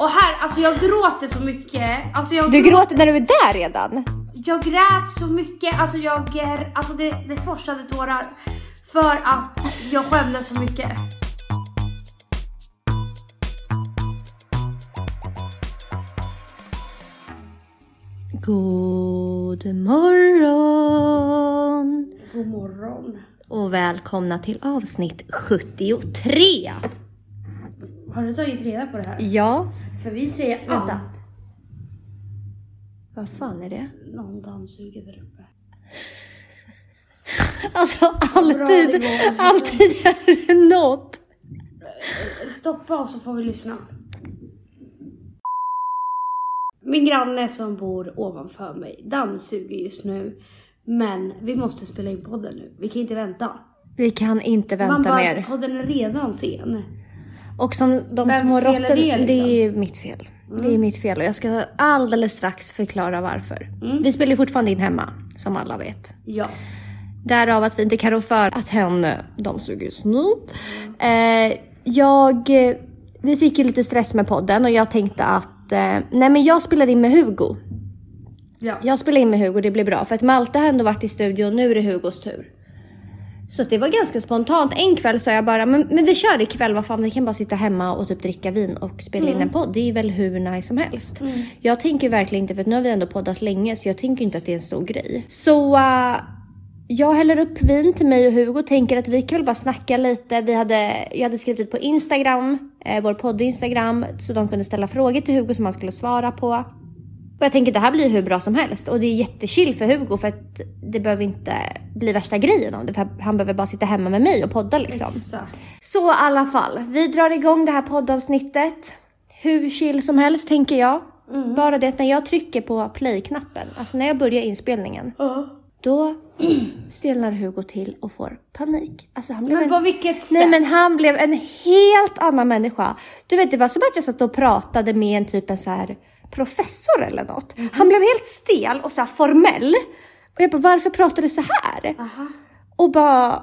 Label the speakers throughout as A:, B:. A: Och här, alltså jag gråter så mycket. Alltså jag,
B: Du gråter när du är där redan.
A: jag grät så mycket. Alltså jag, är- alltså det, det forsade tårar. För att jag skämdes så mycket.
B: God morgon
A: God morgon.
B: och välkomna till avsnitt 73.
A: Har du tagit reda på det här?
B: Ja,
A: För vi säger
B: vänta. Vad fan är det?
A: Någon dammsuger där uppe.
B: Alltså alltid,
A: nivå, alltså.
B: alltid är det något.
A: Stoppa oss så får vi lyssna. Min granne som bor ovanför mig dammsuger just nu. Men vi måste spela in podden nu. Vi kan inte vänta.
B: Vi kan inte
A: Man
B: vänta
A: bara,
B: mer.
A: Podden är redan sen.
B: Och som de
A: Vems
B: små
A: fel är
B: råttorna,
A: det, liksom? Mm.
B: det är mitt fel. Det är mitt fel och jag ska alldeles strax förklara varför.
A: Mm.
B: Vi spelar ju fortfarande in hemma, som alla vet.
A: Ja.
B: Därav att vi inte kan rå för att hen eh, dammsug just nu. Eh, jag, eh, vi fick ju lite stress med podden och jag tänkte att eh, nej men jag spelar in med Hugo.
A: Ja.
B: Jag spelar in med Hugo, det blir bra. För att Malte har ändå varit i studion och nu är det Hugos tur. Så att det var ganska spontant. En kväll sa jag bara, men, men vi kör ikväll, vad fan vi kan bara sitta hemma och typ dricka vin och spela in en podd. Det är väl hur nice som helst. Jag tänker ju verkligen inte, för att nu har vi ändå poddat länge så jag tänker ju inte att det är en stor grej. Så eh, jag häller upp vin till mig och Hugo tänker att vi kan väl bara snacka lite. Vi hade, jag hade skrivit ut på Instagram, eh, vår podd Instagram, så de kunde ställa frågor till Hugo som han skulle svara på. Och jag tänker det här blir ju hur bra som helst och det är jättechill för Hugo för att det behöver inte bli värsta grejen om det för han behöver bara sitta hemma med mig och podda liksom.
A: Exakt.
B: Så i alla fall, vi drar igång det här poddavsnittet. Hur chill som helst tänker jag. Bara det att när jag trycker på play-knappen, alltså när jag börjar inspelningen, då stelnar Hugo till och får panik. Alltså han blev
A: Men
B: en...
A: på vilket sätt?
B: Nej men han blev en helt annan människa. Du vet det var som att jag satt och pratade med en typ en så här professor eller något. Han blev helt stel och så här formell. Och jag bara varför pratar du så här?
A: Aha.
B: Och bara...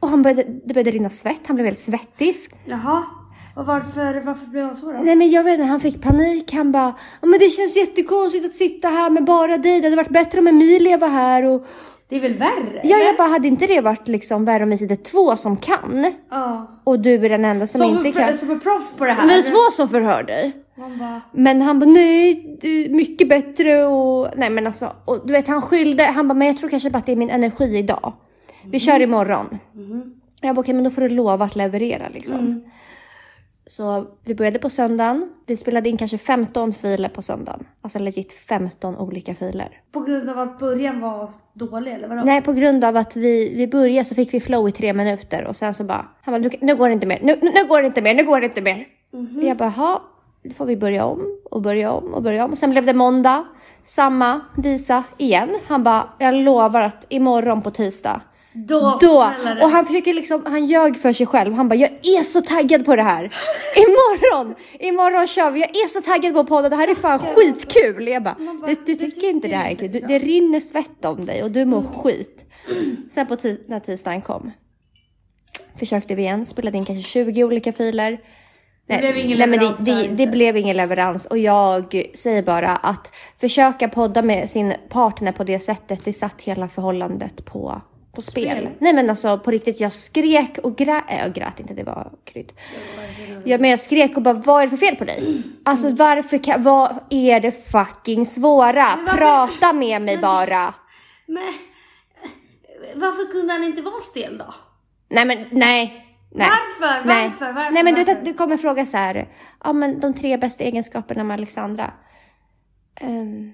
B: Och han började, det började rinna svett, han blev helt svettig.
A: Jaha. Och varför, varför blev han så då?
B: Nej men jag vet inte, han fick panik. Han bara, "Ja, men det känns jättekonstigt att sitta här med bara dig. Det hade varit bättre om Emilia var här. Och,
A: Det är väl värre?
B: ja, jag bara, hade inte det varit liksom värre om vi sitter två som kan?
A: Ja.
B: Och du är den enda som,
A: Som, alltså,
B: inte kan.
A: som är proffs på det här.
B: Vi är två som förhör dig.
A: Man bara,
B: Men han bara, nej, det är mycket bättre och... Nej men alltså, och du vet han skyllde, han bara, men jag tror kanske bara att det är min energi idag. Vi kör imorgon. Jag bara, okej men då får du lova att leverera liksom. Så vi började på söndagen. Vi spelade in kanske 15 filer på söndagen. Alltså legit 15 olika filer.
A: på grund av att början var dålig eller vadå?
B: Nej, på grund av att vi, vi började så fick vi flow i tre minuter och sen så bara, han bara, nu, nu går det inte mer, nu, nu nu går det inte mer, nu går det inte mer. Jag bara, "Jaha, då får vi börja om och börja om och börja om. Och sen blev det måndag, samma visa igen. Han bara, jag lovar att imorgon på tisdag,
A: Då,
B: då.
A: smäller det.
B: Och han försöker liksom, han ljög för sig själv. Han bara, jag är så taggad på det här. Imorgon, imorgon kör vi. Jag är så taggad på podden. Det här är fan skitkul. Jag bara,
A: Man bara,
B: du, du
A: "Det
B: tycker inte det här är
A: tycker
B: kul.
A: inte
B: Du, det rinner svett om dig och du mår skit. Sen på tis- när tisdagen kom försökte vi igen, spelade in kanske 20 olika filer. Nej,
A: blev ingen
B: nej, men det,
A: leverans där
B: det,
A: inte.
B: det blev ingen leverans och jag säger bara att försöka podda med sin partner på det sättet, det satt hela förhållandet på, på spel.
A: Spel.
B: Nej men alltså på riktigt, jag skrek och grät, äh, jag grät inte, det var krydd. Ja, men jag skrek och bara, vad är det för fel på dig? Alltså varför, kan, vad är det fucking svåra?
A: varför-
B: Prata med mig bara.
A: Men varför kunde han inte vara stel då?
B: Nej men nej. nej.
A: Varför?
B: Nej.
A: Varför? Varför?
B: nej men du,
A: Varför?
B: det kommer en fråga så här. Ja men de tre bästa egenskaperna med Alexandra. Ehm,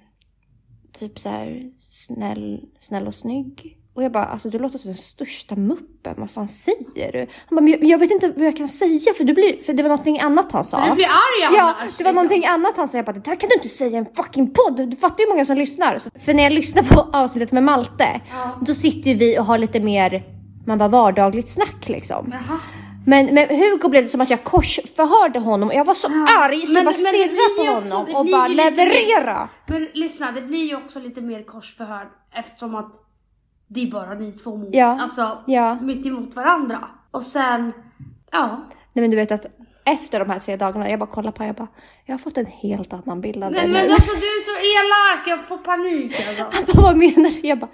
B: typ så här snäll, snäll och snygg. Och jag bara, alltså du låter som den största muppen. Vad fan säger du? Han bara, men jag, jag vet inte vad jag kan säga för, du blir, för det var någonting annat han sa.
A: Du blir arg annars. liksom.
B: Ja, det var någonting annat han sa. Jag bara, det här kan du inte säga i en fucking podd. Du fattar ju hur många som lyssnar. Så- För när jag lyssnar på avsnittet med Malte, då sitter ju vi och har lite mer, man bara vardagligt snack liksom.
A: Jaha.
B: Men med Hugo blev det som att jag korsförhörde honom och jag var så arg så
A: Men- men
B: jag bara
A: det
B: stirrade
A: blir ju
B: på
A: också-
B: honom
A: det
B: och
A: blir
B: bara
A: ju lite mer-
B: leverera.
A: Men lyssna, det blir ju också lite mer korsförhör eftersom att det är bara ni två mot,
B: Ja.
A: alltså,
B: Ja.
A: mitt emot varandra. Och sen, ja.
B: Nej men du vet att efter de här tre dagarna, jag bara kollar på jag bara, jag har fått en helt annan bild av
C: Nej
B: det
C: men
B: nu.
C: alltså du är så elak, jag får panik alltså.
B: Han bara, vad menar du? Jag bara,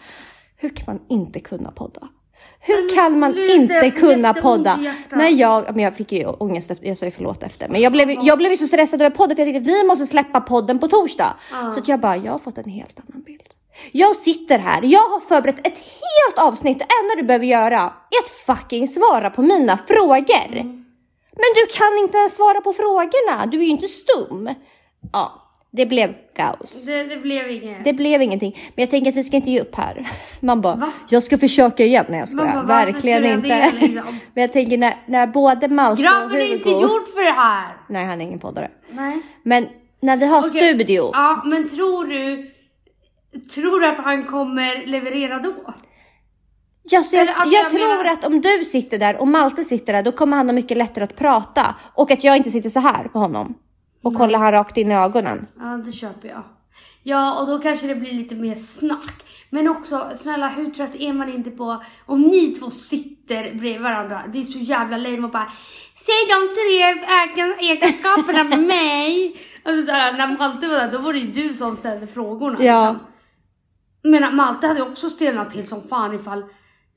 B: hur kan man inte kunna podda?
C: Nej,
B: Hur
C: men
B: kan man
C: sluta, jag
B: inte
C: fick
B: kunna
C: jätteont i
B: podda?
C: hjärtat.
B: När jag, men jag fick ju ångest efter, jag sa ju förlåt efter. Men jag blev, ju- jag blev ju så stressad över podden för jag tänkte vi måste släppa podden på torsdag. Så att jag bara, jag har fått en helt annan bild. Jag sitter här, jag har förberett ett helt avsnitt. Det enda du behöver göra är att fucking svara på mina frågor.
C: Mm.
B: Men du kan inte ens svara på frågorna, du är ju inte stum. Ja, det blev kaos.
C: Det, det blev inget.
B: Det blev ingenting. Men jag tänker att vi ska inte ge upp här. Man bara,
C: Va?
B: jag ska försöka igen. när jag
C: Man
B: skojar.
C: bara, varför
B: Verkligen
C: skulle jag
B: inte.
C: det, liksom?
B: Men jag tänker när, när både Malte och
C: Grabben
B: Hugo...
C: är inte gjord för det här.
B: Nej, han är ingen poddare.
C: Nej.
B: Men när vi har
C: Okej.
B: studio.
C: Ja, men tror du, tror du att han kommer leverera då?
B: Jag, ser,
C: Eller, alltså,
B: jag,
C: jag
B: tror
C: menar-
B: att om du sitter där och Malte sitter där, då kommer han ha mycket lättare att prata. Och att jag inte sitter så här på honom. Och kollar han rakt in i ögonen.
C: Ja, det köper jag. Ja, och då kanske det blir lite mer snack. Men också, snälla hur trött är man inte på om ni två sitter bredvid varandra? Det är så jävla lame och bara Säg de tre egen- egenskaperna med mig. Alltså, så här, när Malte var där, då var det ju du som ställde frågorna.
B: Ja.
C: Liksom. Men Malte hade ju också stelnat till som fan ifall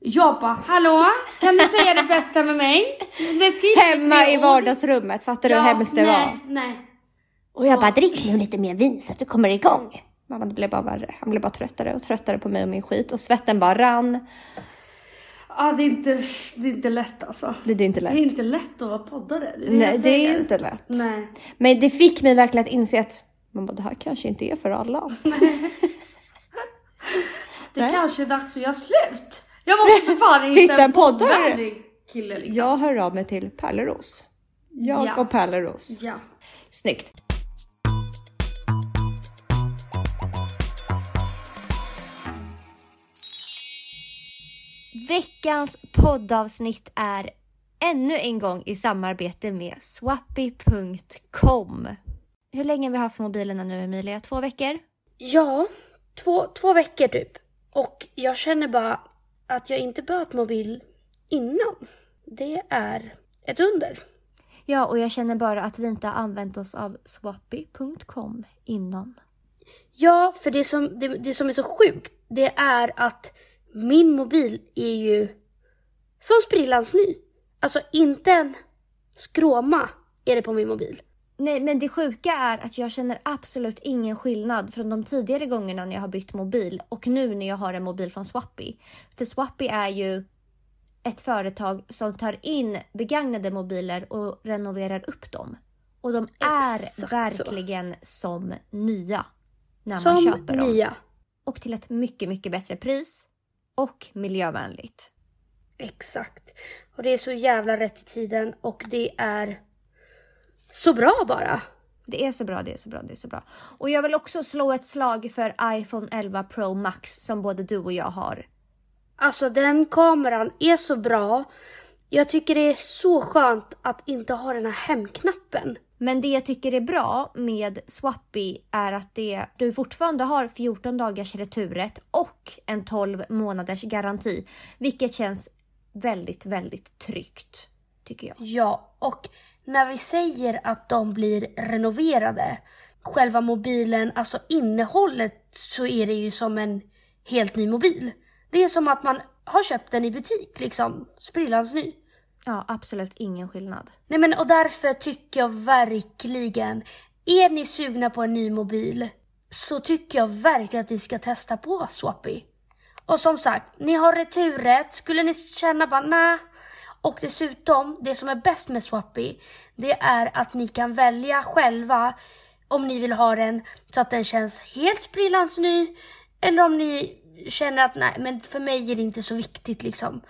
C: jag bara, hallå, kan du säga det bästa med mig? Beskriv det
B: Hemma
C: tre
B: i
C: ord."
B: vardagsrummet, fattar du hur hemskt det
C: nej,
B: var?
C: Nej,
B: Och jag bara, drick nu lite mer vin så att du kommer igång. Mamma, det blev bara värre. Han blev bara tröttare och tröttare på mig och min skit och svetten bara rann.
C: Ja, det är inte, det är inte lätt alltså.
B: Det, det är inte lätt.
C: Det är inte lätt att vara poddare. Det är det
B: Nej,
C: jag
B: det är
C: säger.
B: inte lätt.
C: Nej.
B: Men det fick mig verkligen att inse att man bara, det här kanske inte är för alla.
C: Det
B: Nej.
C: kanske är dags att göra slut. Jag måste för fan hitta,
B: Hitta en poddare.
C: poddvänlig kille liksom.
B: Jag hör av mig till Pärleros.
C: Ja.
B: Jakob Pärleros.
C: Ja.
B: Snyggt. Veckans poddavsnitt är ännu en gång i samarbete med swappy.com. Hur länge har vi haft mobilerna nu Emilia? Två veckor?
C: Ja, två, två veckor typ. Och jag känner bara att jag inte behövt mobil innan. Det är ett under.
B: Ja, och jag känner bara att vi inte har använt oss av swappy.com innan.
C: Ja, för det som, det, det som är så sjukt, det är att min mobil är ju som sprillans ny. Alltså inte en skråma är det på min mobil.
B: Nej, men det sjuka är att jag känner absolut ingen skillnad från de tidigare gångerna när jag har bytt mobil och nu när jag har en mobil från Swappy. För Swappy är ju ett företag som tar in begagnade mobiler och renoverar upp dem. Och de är
C: Exakt så.
B: verkligen som nya när man
C: Som
B: köper dem.
C: nya.
B: Och till ett mycket, mycket bättre pris och miljövänligt.
C: Exakt. Och det är så jävla rätt i tiden och det är så bra bara.
B: Det är så bra, det är så bra, det är så bra. Och jag vill också slå ett slag för iPhone 11 Pro Max som både du och jag har.
C: Alltså den kameran är så bra. Jag tycker det är så skönt att inte ha den här hemknappen.
B: Men det jag tycker är bra med Swappy är att det, du fortfarande har 14 dagars returrätt och en 12 månaders garanti, vilket känns väldigt, väldigt tryggt tycker jag.
C: Ja, och när vi säger att de blir renoverade, själva mobilen, alltså innehållet, så är det ju som en helt ny mobil. Det är som att man har köpt den i butik, liksom sprillans ny.
B: Ja, absolut ingen skillnad.
C: Nej men och därför tycker jag verkligen, är ni sugna på en ny mobil så tycker jag verkligen att ni ska testa på Swappy. Och som sagt, ni har returrätt, skulle ni känna bara nä. Och dessutom, det som är bäst med Swappy, det är att ni kan välja själva om ni vill ha den så att den känns helt sprillans ny eller om ni känner att nej, men för mig är det inte så viktigt liksom.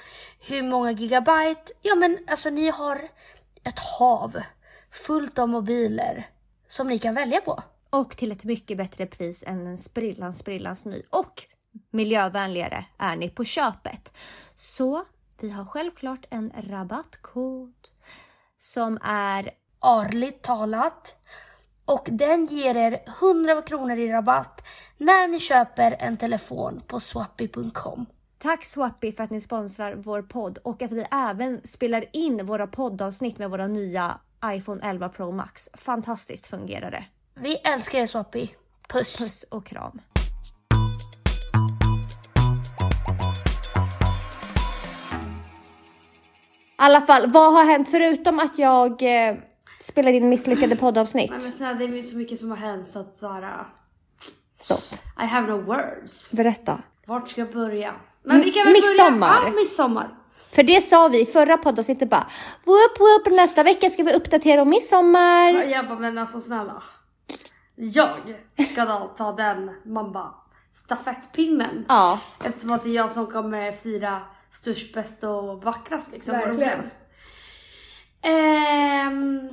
C: Hur många gigabyte? Ja, men alltså ni har ett hav fullt av mobiler som ni kan välja på.
B: Och till ett mycket bättre pris än en sprillans sprillans ny och miljövänligare är ni på köpet. Så vi har självklart en rabattkod som är
C: arligt talat. Och den ger er 100 kronor i rabatt när ni köper en telefon på swappy.com.
B: Tack Swappy för att ni sponsrar vår podd och att vi även spelar in våra poddavsnitt med våra nya iPhone 11 Pro Max. Fantastiskt fungerar det.
C: Vi älskar er Swappy. Puss.
B: Puss och kram. I alla fall, vad har hänt förutom att jag eh, spelade in misslyckade
A: Nej,
B: poddavsnitt?
A: Men sen, det är så mycket som har hänt så att såhär...
B: Stopp.
A: I have no words.
B: Berätta.
A: Vart ska jag börja? Men vi kan väl
B: midsommar.
A: Börja? Ja, midsommar.
B: För det sa vi i förra poddavsnittet bara. Whoop, whoop, nästa vecka ska vi uppdatera om
A: Ja,
B: midsommar.
A: Jag bara, men alltså snälla. Jag ska då ta den, man bara, stafettpinnen.
B: Ja.
A: Eftersom att det är jag som kommer fira störst, bäst och vackrast liksom.
B: Verkligen.
A: Ehm,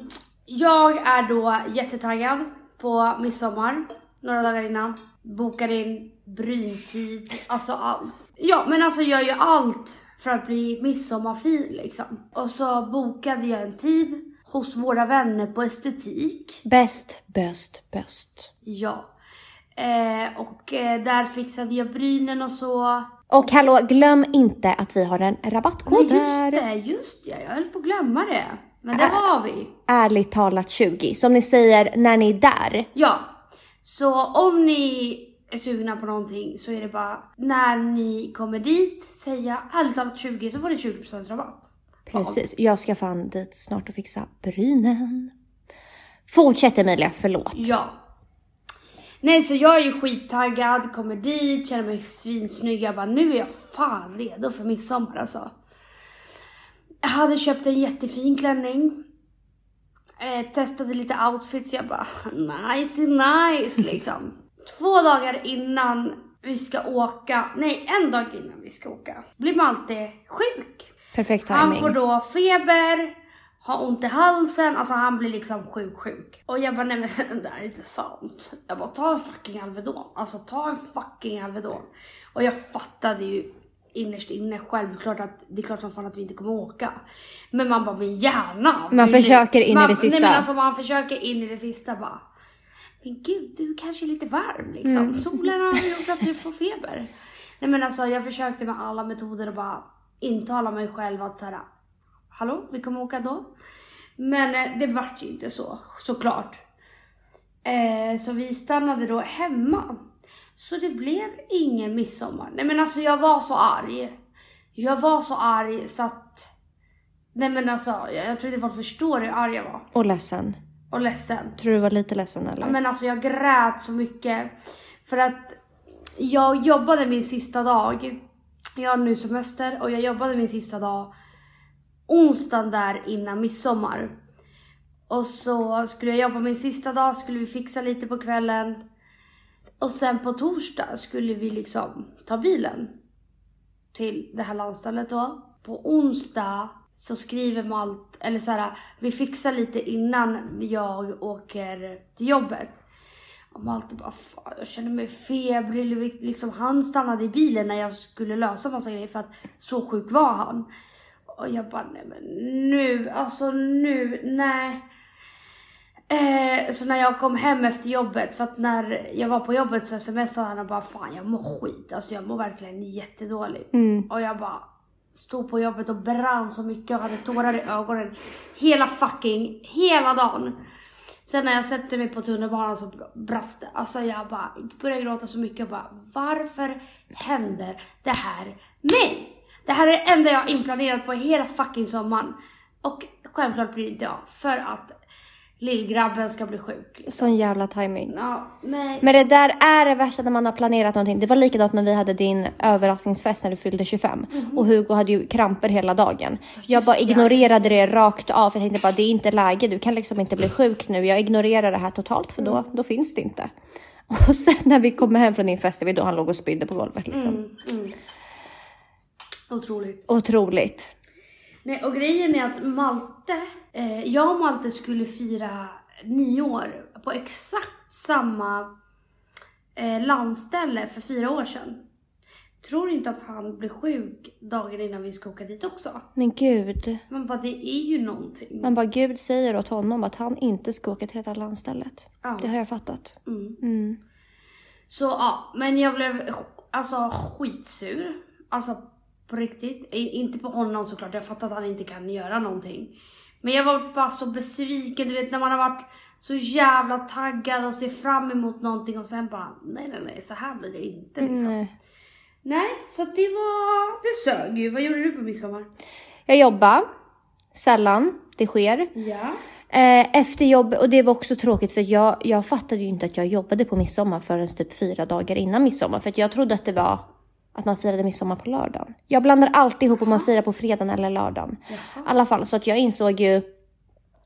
A: jag är då jättetaggad på midsommar, några dagar innan. Bokar in bryntid, alltså allt. Ja men alltså jag gör ju allt för att bli midsommarfin liksom. Och så bokade jag en tid hos våra vänner på estetik.
B: Bäst, bäst, bäst.
A: Ja. Eh, och eh, där fixade jag brynen och så.
B: Och hallå, glöm inte att vi har en
A: Nej
B: rabattkod
A: just
B: där.
A: det, just det. Jag höll på att glömma det. Men det har vi.
B: Ärligt talat 20, som ni säger när ni är där.
A: Ja. Så om ni är sugna på någonting så är det bara när ni kommer dit säga ärligt talat 20 så får ni 20% rabatt.
B: Precis, jag ska fan dit snart och fixa brynen. Fortsätt Emilia, förlåt.
A: Ja. Nej så jag är ju skittaggad, kommer dit, känner mig svinsnygg. Jag bara nu är jag fan redo för midsommar alltså. Jag hade köpt en jättefin klänning. Eh, testade lite outfits, jag bara nice nice liksom. Två dagar innan vi ska åka, nej en dag innan vi ska åka, blir Malte sjuk.
B: Perfekt
A: Han
B: timing.
A: får då feber, har ont i halsen, alltså han blir liksom sjuk sjuk. Och jag bara nej men det där är inte sant. Jag bara ta en fucking Alvedon, alltså ta en fucking Alvedon. Och jag fattade ju innerst inne självklart att det är klart som fan att vi inte kommer åka. Men man bara min hjärna.
B: Man
A: vill ju-
B: försöker in i
A: Mm. man,
B: det sista.
A: Nej men alltså man försöker in i det sista bara. Men gud, du kanske är lite varm liksom.
B: Mm.
A: Solen har gjort att du får feber. Nej men alltså jag försökte med alla metoder att bara intala mig själv att såhär, hallå, vi kommer åka då. Men eh, det vart ju inte så, såklart. Eh, så vi stannade då hemma. Så det blev ingen midsommar. Nej men alltså jag var så arg. Jag var så arg så att... Nej men alltså jag, jag tror inte folk förstår hur arg jag var.
B: Och ledsen.
A: Och ledsen.
B: Tror du var lite ledsen eller?
A: Ja, Men alltså jag grät så mycket. För att jag jobbade min sista dag. Jag har nu semester och jag jobbade min sista dag onsdagen där innan midsommar. Och så skulle jag jobba min sista dag, skulle vi fixa lite på kvällen. Och sen på torsdag skulle vi liksom ta bilen till det här landstället då. På onsdag så skriver Malt, eller så här, vi fixar lite innan jag åker till jobbet. Och Malte bara, fan jag känner mig febrig. Liksom, han stannade i bilen när jag skulle lösa massa grejer för att så sjuk var han. Och jag bara, nej men nu, alltså nu, nej. Eh, så när jag kom hem efter jobbet, för att när jag var på jobbet så smsade han och bara fan jag mår skit, alltså jag mår verkligen jättedåligt. Och jag bara stod på jobbet och brann så mycket och hade tårar i ögonen hela fucking, hela dagen. Sen när jag sätter mig på tunnelbanan så brast det. Alltså jag bara började gråta så mycket och bara varför händer det här mig? Det här är det enda jag har inplanerat på hela fucking sommaren. Och självklart blir det inte jag för att lillgrabben ska bli sjuk.
B: Sån jävla timing.
A: Ja, nej.
B: Men det där är det värsta när man har planerat någonting. Det var likadant när vi hade din överraskningsfest när du fyllde 25 och Hugo hade ju kramper hela dagen. Jag bara
A: Mhm. det,
B: ignorerade det rakt av för jag tänkte bara det är inte läge. Du kan liksom inte bli
A: Mm.
B: sjuk nu. Jag ignorerar det här totalt för då, då finns det inte. Och sen när vi kommer hem från din fest, det var då han låg och spydde på golvet liksom.
A: Mm. Otroligt.
B: Otroligt.
A: Nej, och grejen är att Malte, eh, jag och Malte skulle fira nyår på exakt samma eh, landställe för fyra år sedan. Tror inte att han blir sjuk dagen innan vi ska åka dit också.
B: Men gud.
A: Man bara, det är ju någonting.
B: Man bara gud säger åt honom att han inte ska åka till det där landstället.
A: Ja. mm.
B: Det har jag fattat. Mm.
A: Så ja, men jag blev sk- alltså skitsur. Alltså på riktigt. I- Inte på honom såklart, jag fattar att han inte kan göra någonting. Men jag var bara så besviken, du vet när man har varit så jävla taggad och ser fram emot någonting och sen bara nej nej nej så här blir det inte
B: Mm.
A: liksom. Nej,
B: Nej.
A: så att det var, det sög ju. Vad gjorde du på midsommar?
B: Jag jobbar. Sällan det sker.
A: Ja.
B: Eh, efter jobb, och det var också tråkigt för jag, jag fattade ju inte att jag jobbade på midsommar förrän typ fyra dagar innan midsommar. För att jag trodde att det var att man firade midsommar på lördagen. Jag blandar alltid ihop om man firar på fredagen eller lördagen. I alla fall, så att jag insåg ju...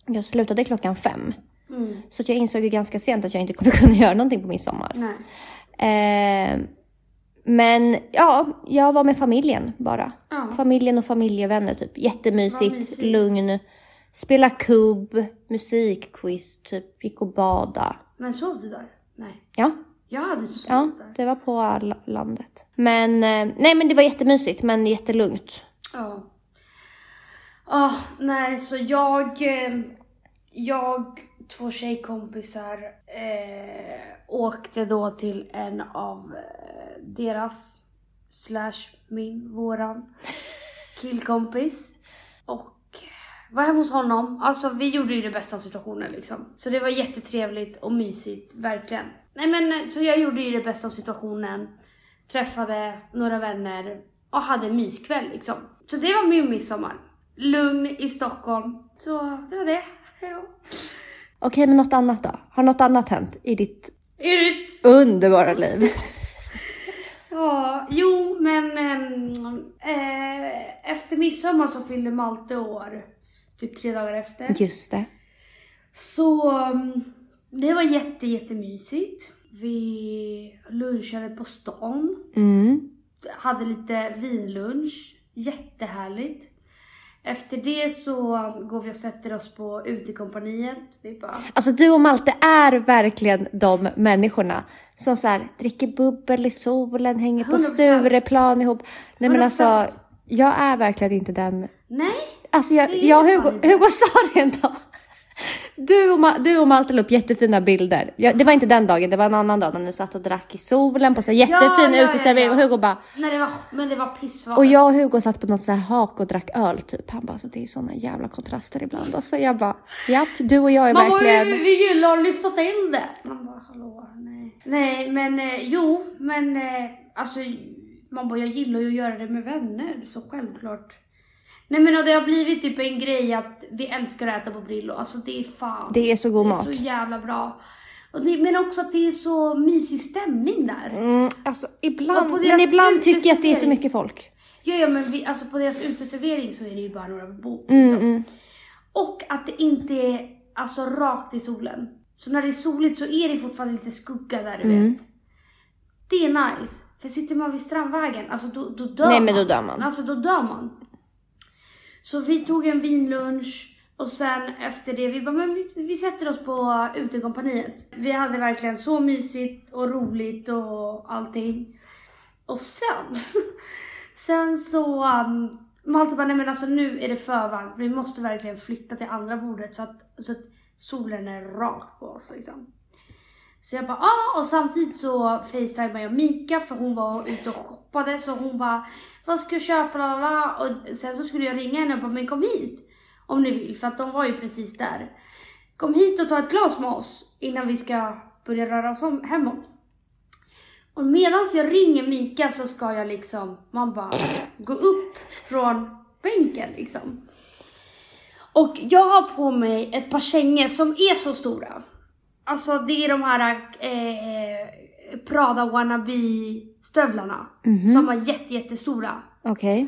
B: Jag slutade klockan fem.
A: Mm,
B: Så att jag insåg ju ganska sent att jag inte kommer kunna göra någonting på midsommar.
A: Nej.
B: Eh, men ja, jag var med familjen bara.
A: Ja.
B: Familjen och familjevänner typ. Jättemysigt,
A: Vad mysigt.
B: lugn. Spela kubb, musikquiz, typ gick och bada.
A: Men sov du där? Nej.
B: Ja,
A: Jag hade sovit
B: ja,
A: där.
B: det var på la- landet. Men eh, nej, men det var jättemysigt, men jättelugnt.
A: Ja. Ja, nej, så jag... eh, Jag, två tjejkompisar, eh, åkte då till en av eh, deras, slash min, våran, killkompis. Och var hemma hos honom. Alltså vi gjorde ju det bästa av situationen liksom. Så det var jättetrevligt och mysigt, verkligen. Nej men eh, så jag gjorde ju det bästa av situationen. Träffade några vänner och hade en myskväll liksom. Så det var min midsommar. Lugn i Stockholm. Så det var det. Hejdå.
B: Okej, men något annat då? Har något annat hänt i ditt
A: Ut!
B: underbara liv?
A: Ja, jo men ehm, eh, efter midsommar så fyllde Malte år. Typ tre dagar efter.
B: Just det.
A: Så mm, det var jätte, jättemysigt. Vi lunchade på stan.
B: Mm.
A: Hade lite vinlunch. Jättehärligt. Efter det så går vi och sätter oss på utekompaniet. Vi bara...
B: Alltså du och Malte är verkligen de människorna som så här, dricker bubbel i solen, hänger på
A: 100%.
B: Stureplan ihop. Nej men alltså,
A: 100%.
B: jag är verkligen inte den.
A: Nej!
B: Alltså
A: Det
B: jag,
A: är
B: jag och
A: fan
B: Hugo,
A: inte.
B: Hugo sa det en dag. Du och, Ma- du och Malte la upp jättefina bilder. Jag, det var inte den dagen, det var en annan dag när ni satt och drack i solen på så här jättefin
A: ja, ja,
B: uteservering
A: ja.
B: och Hugo bara
A: Nej, det var, men det var pissvarmt.
B: och jag och Hugo satt på något så här hak och drack öl typ. Han bara så det är såna jävla kontraster ibland. Alltså jag bara japp, du och jag är
A: Man bara,
B: verkligen.
A: vi, vi gillar att lyssna till det. Man bara, hallå, nej. Nej, men eh, jo, men eh, alltså, man bara, jag gillar ju att göra det med vänner, så självklart. Nej men och det har blivit typ en grej att vi älskar att äta på Brillo, alltså det är fan.
B: Det är så god
A: det
B: mat.
A: är så jävla bra. Och det, men också att det är så mysig stämning där.
B: Mm, alltså ibland,
A: Och på
B: men
A: deras
B: ibland tycker jag att det är för
A: uteservering.
B: mycket folk.
A: Ja, ja men vi, alltså på deras uteservering så är det ju bara några bord.
B: Mm, mm.
A: Och att det inte är alltså rakt i solen. Så när det är soligt så är det fortfarande lite skugga där, du
B: Mm.
A: vet. Det är nice. För sitter man vid Strandvägen, alltså då, då dör
B: Nej,
A: man.
B: men då dör man.
A: Alltså då dör man. Så vi tog en vinlunch och sen efter det, vi bara, men vi, vi sätter oss på utekompaniet. Vi hade verkligen så mysigt och roligt och allting. Och sen, sen så... Um, Malte bara, nej men alltså nu är det för varmt. Vi måste verkligen flytta till andra bordet för att, så att solen är rakt på oss liksom. Så jag bara, ja och samtidigt så facetimade jag Mika för hon var ute och shoppade så hon bara, vad ska jag köpa? La, la, la. Och sen så skulle jag ringa henne och bara, men kom hit om ni vill för att de var ju precis där. Kom hit och ta ett glas med oss innan vi ska börja röra oss om, hemåt. Och medan jag ringer Mika så ska jag liksom, man bara gå upp från bänken liksom. Och jag har på mig ett par kängor som är så stora. Alltså det är de här eh, Prada wannabe stövlarna
B: Mhm.
A: som är jätte, jättestora.
B: Okej.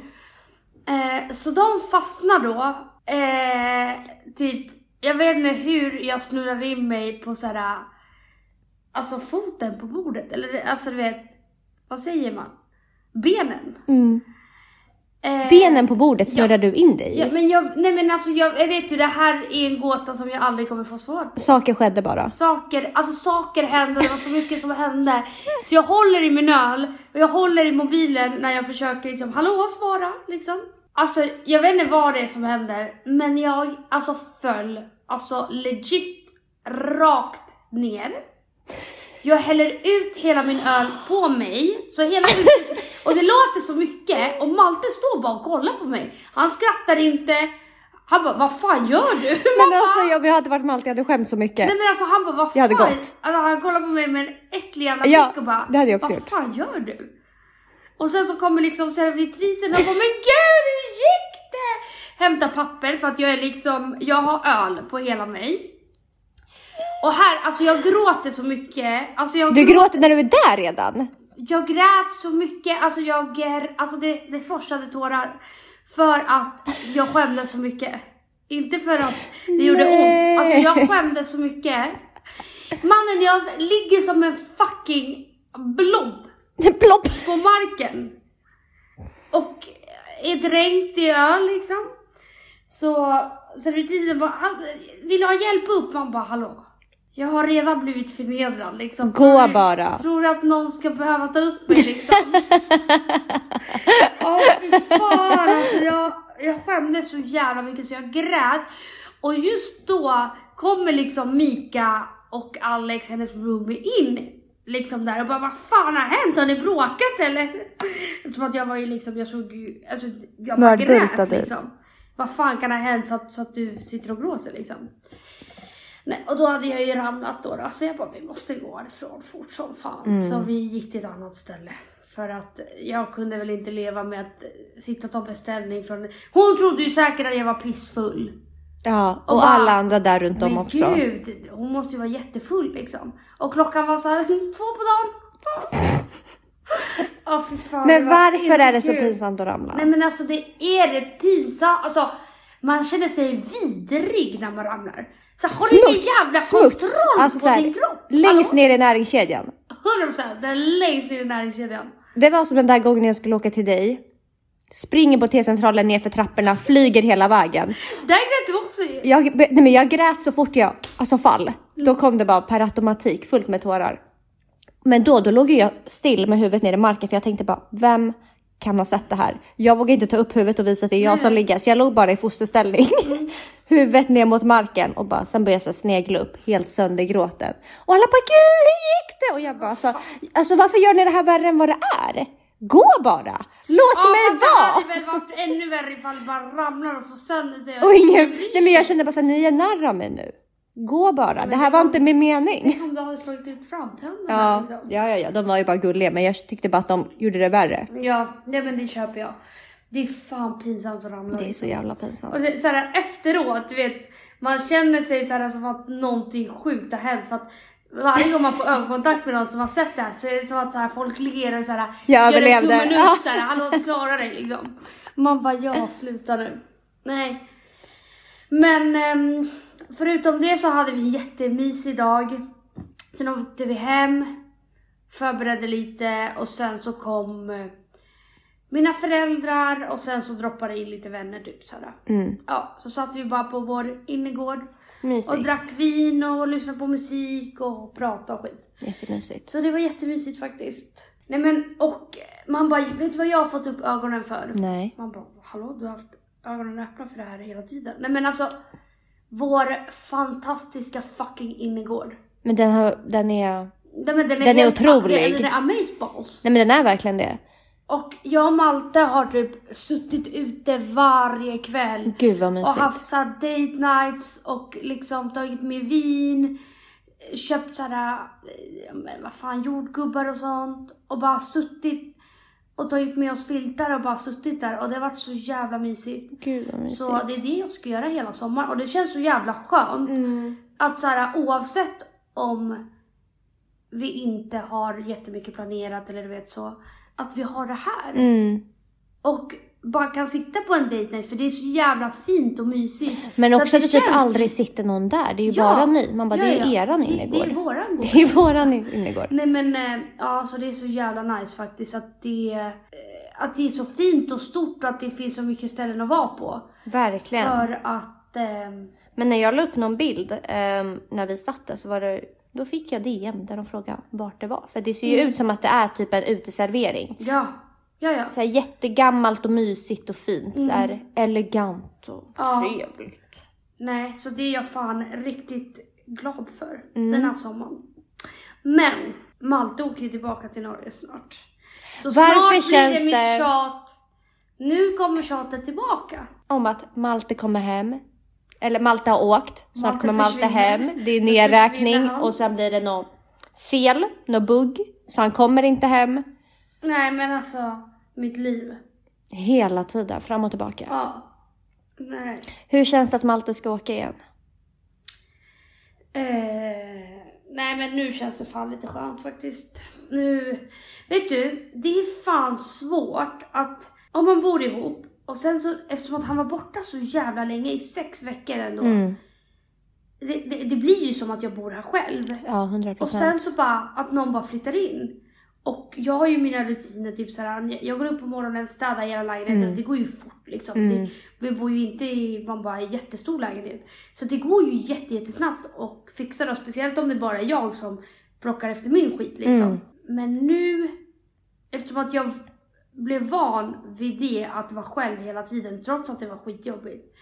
A: Eh, så de fastnar då. Eh, typ, jag vet inte hur jag snurrar in mig på såhär, alltså foten på bordet. Eller alltså du vet, vad säger man? Benen.
B: Mm.
A: Eh,
B: Benen på bordet snurrar du in dig i.
A: Ja, men jag, nej men alltså jag, jag vet ju det här är en gåta som jag aldrig kommer få svar på.
B: Saker skedde bara.
A: Saker, alltså saker hände och det var så mycket som hände. Så jag håller i min öl och jag håller i mobilen när jag försöker liksom, hallå svara liksom. Alltså jag vet inte vad det är som händer men jag alltså föll, alltså legit rakt ner. Jag häller ut hela min öl på mig, så hela ute- och det låter så mycket och Malte står bara och kollar på mig. Han skrattar inte, Han bara, vad fan gör du? Man
B: Men alltså jag, jag hade varit Malte, jag hade skämt så mycket.
A: Nej men alltså han bara vad fan?
B: Jag hade gått.
A: Alltså, han kollar på mig med en äcklig jävla
B: Ja,
A: blick och bara
B: det hade jag också
A: vad
B: gjort."
A: fan gör du? Och sen så kommer liksom servitrisen och bara men gud hur gick det? Hämtar papper för att jag är liksom, jag har öl på hela mig. Och här, alltså jag gråter så mycket. Alltså jag,
B: Du gråter när du är där redan.
A: jag grät så mycket, alltså jag, är- alltså det, det forsade tårar. För att jag skämdes så mycket. Inte för att det gjorde
B: Nej.
A: ont, alltså jag skämdes så mycket. Mannen jag ligger som en fucking blob
B: Plopp!
A: på marken. Och är dränkt i öl liksom. Så servitrisen bara, "Han- vill du ha hjälp upp? Man bara, hallå. Jag har redan blivit förnedrad liksom.
B: Gå
A: Tror du-
B: bara.
A: Tror du att någon ska behöva ta upp mig liksom? Åh fy fan alltså, jag, jag skämdes så jävla mycket så jag grät. Och just då kommer liksom Mika och Alex, hennes roomie, in liksom där och bara vad fan har hänt? Har ni bråkat eller? Eftersom att jag var ju liksom, jag såg ju, alltså jag bara
B: Mörbultad
A: grät
B: ut.
A: liksom. Vad fan kan ha hänt så att, så att du sitter och gråter liksom? Nej, och då hade jag ju ramlat då, då. Så jag bara, vi måste gå härifrån fort som fan.
B: Mm.
A: Så vi gick till ett annat ställe. För att jag kunde väl inte leva med att eh, sitta och ta beställning från... Hon trodde ju säkert att jag var pissfull.
B: Ja, och,
A: Och bara-
B: alla andra där runt om
A: Men
B: också.
A: gud, hon måste ju vara jättefull liksom. Och klockan var så här två på dagen. Ja, fy fan,
B: Men
A: det var
B: varför
A: inte
B: är det så
A: kul.
B: pinsamt att ramla?
A: Nej men alltså det är det pinsamt. Alltså man känner sig vidrig när man ramlar. Så har du ingen jävla kontroll på
B: Alltså så här,
A: din kropp?
B: Längst ner i näringskedjan.
A: Hallå, 100% den är längst ner i näringskedjan.
B: Det var som den där gången jag skulle åka till dig. Springer på T-centralen nerför trapporna, flyger hela vägen.
A: Där grät du också ju.
B: Jag, nej men jag grät så fort jag alltså fall. Då kom det bara per automatik fullt med tårar. Men då, då låg ju jag still med huvudet ner i marken för jag tänkte bara, vem kan ha sett det här? Jag vågar inte ta upp huvudet och visa att det är jag som ligger, så jag låg bara i fosterställning. huvudet ner mot marken och bara, sen började jag så här snegla upp, helt söndergråten. Och alla bara, gud hur gick det? Och jag bara, alltså, alltså varför gör ni det här värre än vad det är? Gå bara! Låt
A: Ja,
B: mig
A: fast det
B: vara!
A: hade väl varit ännu värre ifall det bara ramlar och slår sönder sig.
B: Och ingen, nej men jag kände bara såhär, ni är nära mig nu. Gå bara, det här var inte min mening.
A: Om du hade slagit ut framtänderna
B: Ja,
A: liksom.
B: ja, ja, ja, de var ju bara gulliga, men jag tyckte bara att de gjorde det värre.
A: Ja, nej men det köper jag. Det är fan pinsamt att ramla.
B: Det är så jävla pinsamt.
A: Och det, så här, efteråt, du vet, man känner sig så här som att någonting sjukt har hänt. För att varje gång man får ögonkontakt med någon som har sett det här så är det som att så här, folk ler och så här,
B: Jag
A: gör en
B: överlevde.
A: tummen
B: Ja.
A: upp så här, hallå du klarar dig liksom. Man bara, ja sluta nu. Nej. Men ehm, förutom det så hade vi en jättemysig dag. Sen åkte vi hem, förberedde lite och sen så kom eh, mina föräldrar och sen så droppade in lite vänner typ sådär.
B: Mm.
A: Ja, så satt vi bara på vår innergård och
B: Mysigt.
A: drack vin och lyssnade på musik och pratade och skit.
B: Jättemysigt.
A: Så det var jättemysigt faktiskt. Nej men och man bara, vet du vad jag har fått upp ögonen för?
B: Nej.
A: Man bara, hallå du har haft ögonen öppna för det här hela tiden. Nej men alltså, vår fantastiska fucking innergård.
B: Men den, har, den är...
A: Nej, men den är,
B: Den är
A: helt-
B: otrolig.
A: Den är amazeballs.
B: Nej men den är verkligen det.
A: Och jag och Malte har typ suttit ute varje kväll.
B: Gud vad
A: och
B: mysigt.
A: haft såhär date nights och liksom tagit med vin. Köpt såhär, eh, men vad fan, jordgubbar och sånt. Och bara suttit och tagit med oss filtar och bara suttit där. Och det har varit så jävla mysigt.
B: Gud vad mysigt. Mm.
A: Så det är det jag ska göra hela sommaren och det känns så jävla skönt. Att så här, oavsett om vi inte har jättemycket planerat eller du vet så, att vi har det här.
B: Mm.
A: Och bara kan sitta på en date night för det är så jävla fint och mysigt.
B: Men
A: Så
B: också
A: att
B: att det typ
A: känns-
B: aldrig sitter någon där, det är ju
A: Ja,
B: bara ni. Man bara,
A: ja,
B: det är
A: ja.
B: ju eran
A: Det- Det är
B: innergård.
A: våran gård.
B: Det är våran innergård.
A: Nej men eh, ja, så det är så jävla nice faktiskt att det, eh, att det är så fint och stort och att det finns så mycket ställen att vara på.
B: Verkligen.
A: För att ehm,
B: Men när jag la upp någon bild ehm, när vi satt där så var det, då fick jag DM där de frågade vart det var. För det ser ju
A: Mm.
B: ut som att det är typ en uteservering.
A: Ja, ja, ja.
B: Så här jättegammalt och mysigt och fint. Så här elegant och
A: Mm. Ja.
B: trevligt.
A: Nej, så det är jag fan riktigt glad för
B: Mm.
A: den här sommaren. Men Malte åker ju tillbaka till Norge snart. Så
B: Varför
A: snart blir
B: känns
A: det mitt
B: det-
A: tjat. Nu kommer tjatet tillbaka.
B: om att Malte kommer hem. Eller Malte har åkt, snart
A: Malte
B: kommer Malte
A: försvinner.
B: hem. Det är
A: Så
B: nedräkning
A: försvinner han.
B: och sen blir det något fel, något bugg. Så han kommer inte hem.
A: Nej men alltså, mitt liv.
B: Hela tiden, fram och tillbaka.
A: Ja. Nej.
B: Hur känns det att Malte ska åka igen?
A: Eh, nej men nu känns det fan lite skönt faktiskt. Nu, vet du, det är fan svårt att, om man bor ihop och sen så, eftersom att han var borta så jävla länge, i sex veckor ändå.
B: Mm.
A: Det, det, det blir ju som att jag bor här själv.
B: Ja, 100
A: Och
B: procent.
A: sen så bara att någon bara flyttar in. Och jag har ju mina rutiner, typ såhär, jag- jag går upp på morgonen, städar hela lägenheten. Det går ju fort liksom. Det, vi bor ju inte i man bara, en jättestor lägenhet. Så det går ju jätte, jättesnabbt och fixa då. Speciellt om det bara är jag som plockar efter min skit liksom. Men nu, eftersom att jag blev van vid det att vara själv hela tiden trots att det var skitjobbigt.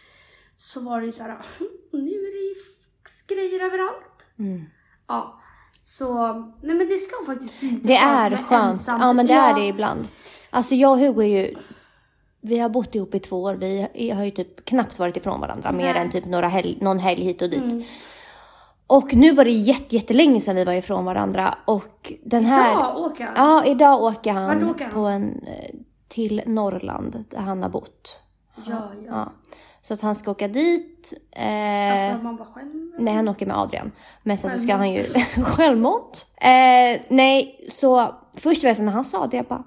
A: Så var det ju såhär, nu är det ju f- grejer överallt.
B: Mm.
A: Ja. Så, nej men det ska faktiskt bli lite
B: Det är
A: med
B: skönt.
A: ensamt.
B: Ja, men det
A: Ja,
B: är det ibland. Alltså jag och Hugo är ju... Vi har bott ihop i två år. Vi har ju typ knappt varit ifrån varandra mer
A: Nej. Mm.
B: än typ några helg, någon helg hit och dit. Och nu var det jätte, jättelänge sedan vi var ifrån varandra och den här...
A: Ja, åka.
B: Ja, idag åker han,
A: Vart åker han?
B: på en, eh, till Norrland där han har bott.
A: Ja, ja.
B: Ja. Så att han ska åka dit. Eh,
A: Alltså man bara själv.
B: Nej, han åker med Adrian. Men sen så ska han ju självmant. Eh, nej, så först vet jag när han sa det, jag bara,